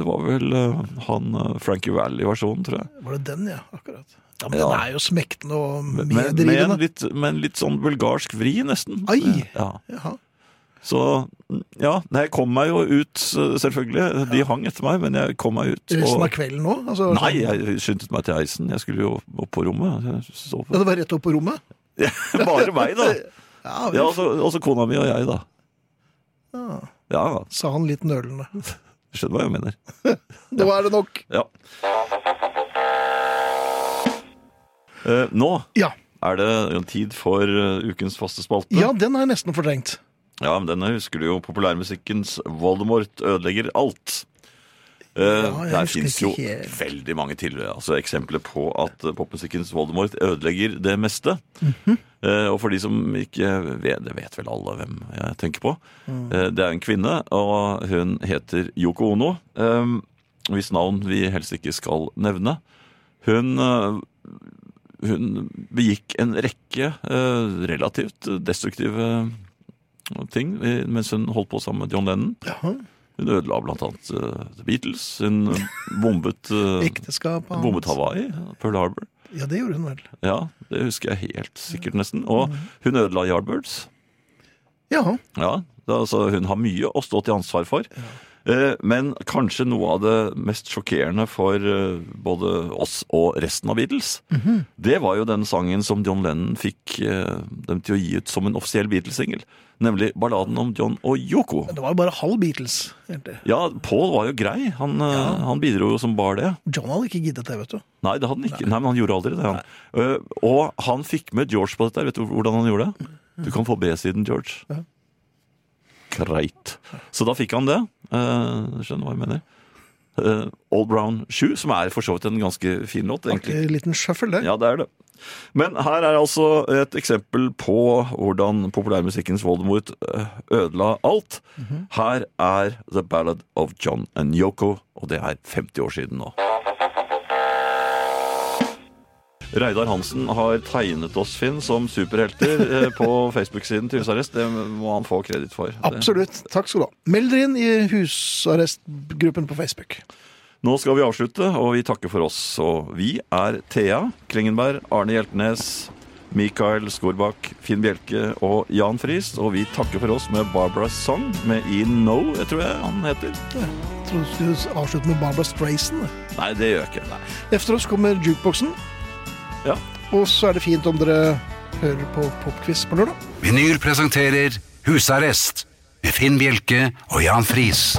C: det var vel øh, han øh, Frankie Valley-versjonen, tror jeg.
B: Var det den, ja? Akkurat. Ja, men
C: Ja.
B: den er jo smektende og
C: Men- Med, med, en
B: meddrivende.
C: litt, med en litt sånn bulgarsk vri, nesten.
B: Ai!
C: Ja.
B: Jaha.
C: Så ja, nei, jeg kom meg jo ut, selvfølgelig. De hang etter meg, men jeg kom meg ut.
B: Resten av
C: Og,
B: kvelden nå? Altså,
C: nei, jeg skyndte meg
B: (laughs)
C: til heisen. Jeg skulle jo opp på rommet. Jeg sov.
B: Ja, det var rett opp på rommet?
C: Bare meg, da.
B: Ja,
C: Ja, også, også kona mi og jeg, da.
B: Ja.
C: Ja, ja.
B: sa han litt
C: (laughs)
B: nølende.
C: Skjønner hva jeg mener.
B: Da er det nok.
C: Ja. Eh, nå
B: Ja.
C: er det jo en tid for eh, ukens faste spalte.
B: ja, den har jeg nesten fortrengt.
C: Ja, men denne husker du jo. Populærmusikkens Voldemort ødelegger alt. Eh,
B: jeg
C: der
B: husker
C: fins
B: ikke
C: jo
B: helt.
C: veldig mange til, altså, eksempler på at eh, popmusikkens Voldemort ødelegger det meste.
B: Mhm.
C: Eh, og for de som ikke vet Det vet vel alle hvem jeg tenker på.
B: Mm.
C: Eh, det er en kvinne, og hun heter Yoko Ono. eh, hvis navn vi helst ikke skal nevne. Hun eh, hun begikk en rekke eh, relativt destruktive ting eh, mens hun holdt på sammen med John Lennon. Hun ødela blant annet eh, The Beatles. Hun
B: (laughs)
C: bombet, eh,
B: Ekteskap hans.
C: bombet Hawaii, Pearl Harbor.
B: Ja, det gjorde hun vel.
C: Ja, det husker jeg helt sikkert nesten. Og hun ødela Yardbirds.
B: Ja.
C: Ja, det, er altså, hun har mye å stå til ansvar for. Eh, Men kanskje noe av det mest sjokkerende for eh, både oss og resten av Beatles, det var jo den sangen som John Lennon fikk eh, dem til å gi ut som en offisiell Beatles-singel. Nemlig balladen om John og Yoko.
B: Det var jo bare halv Beatles. egentlig.
C: Ja, Paul var jo grei. Han, eh, han bidro jo som bare det.
B: John hadde ikke giddet det, vet du.
C: Nei, det hadde han ikke. Nei, men han gjorde aldri det. Han. Eh, Og han fikk med George på dette. Vet du hvordan han gjorde det? Du kan få B-siden, George.
B: Ja.
C: Greit. Så da fikk han det. Eh, skjønner hva jeg mener. Eh, Old Brown Shoe, som er for så vidt en ganske fin låt. egentlig.
B: Artig liten sjøffel, det.
C: Ja, det er det. Men her er altså et eksempel på hvordan populærmusikkens Voldemort øh, ødela alt.
B: Mhm.
C: Her er The Ballad of John and Yoko, og det er 50 år siden nå. Reidar Hansen har tegnet oss, Finn, som superhelter eh,
B: (laughs)
C: på Facebook-siden til husarrest. Det må han få kreditt for. Det-
B: Absolutt. Takk skal du ha. Meld dere inn i husarrestgruppen på Facebook.
C: Nå skal vi avslutte, og vi takker for oss. Og vi er Thea Klingenberg, Arne Hjeltnes, Mikael Skorbakk, Finn Bjelke og Jan Friis. Og vi takker for oss med Barbara Song med E No, jeg tror jeg han heter.
B: Jeg trodde du skulle avslutte med Barbara Strayson.
C: Nei, det gjør jeg ikke. Nei.
B: Efter oss kommer jukeboksen,
C: Ja.
B: og så er det fint om dere hører på Popquiz på lørdag.
A: Vinyl presenterer Husarrest med Finn Bjelke og Jan Friis.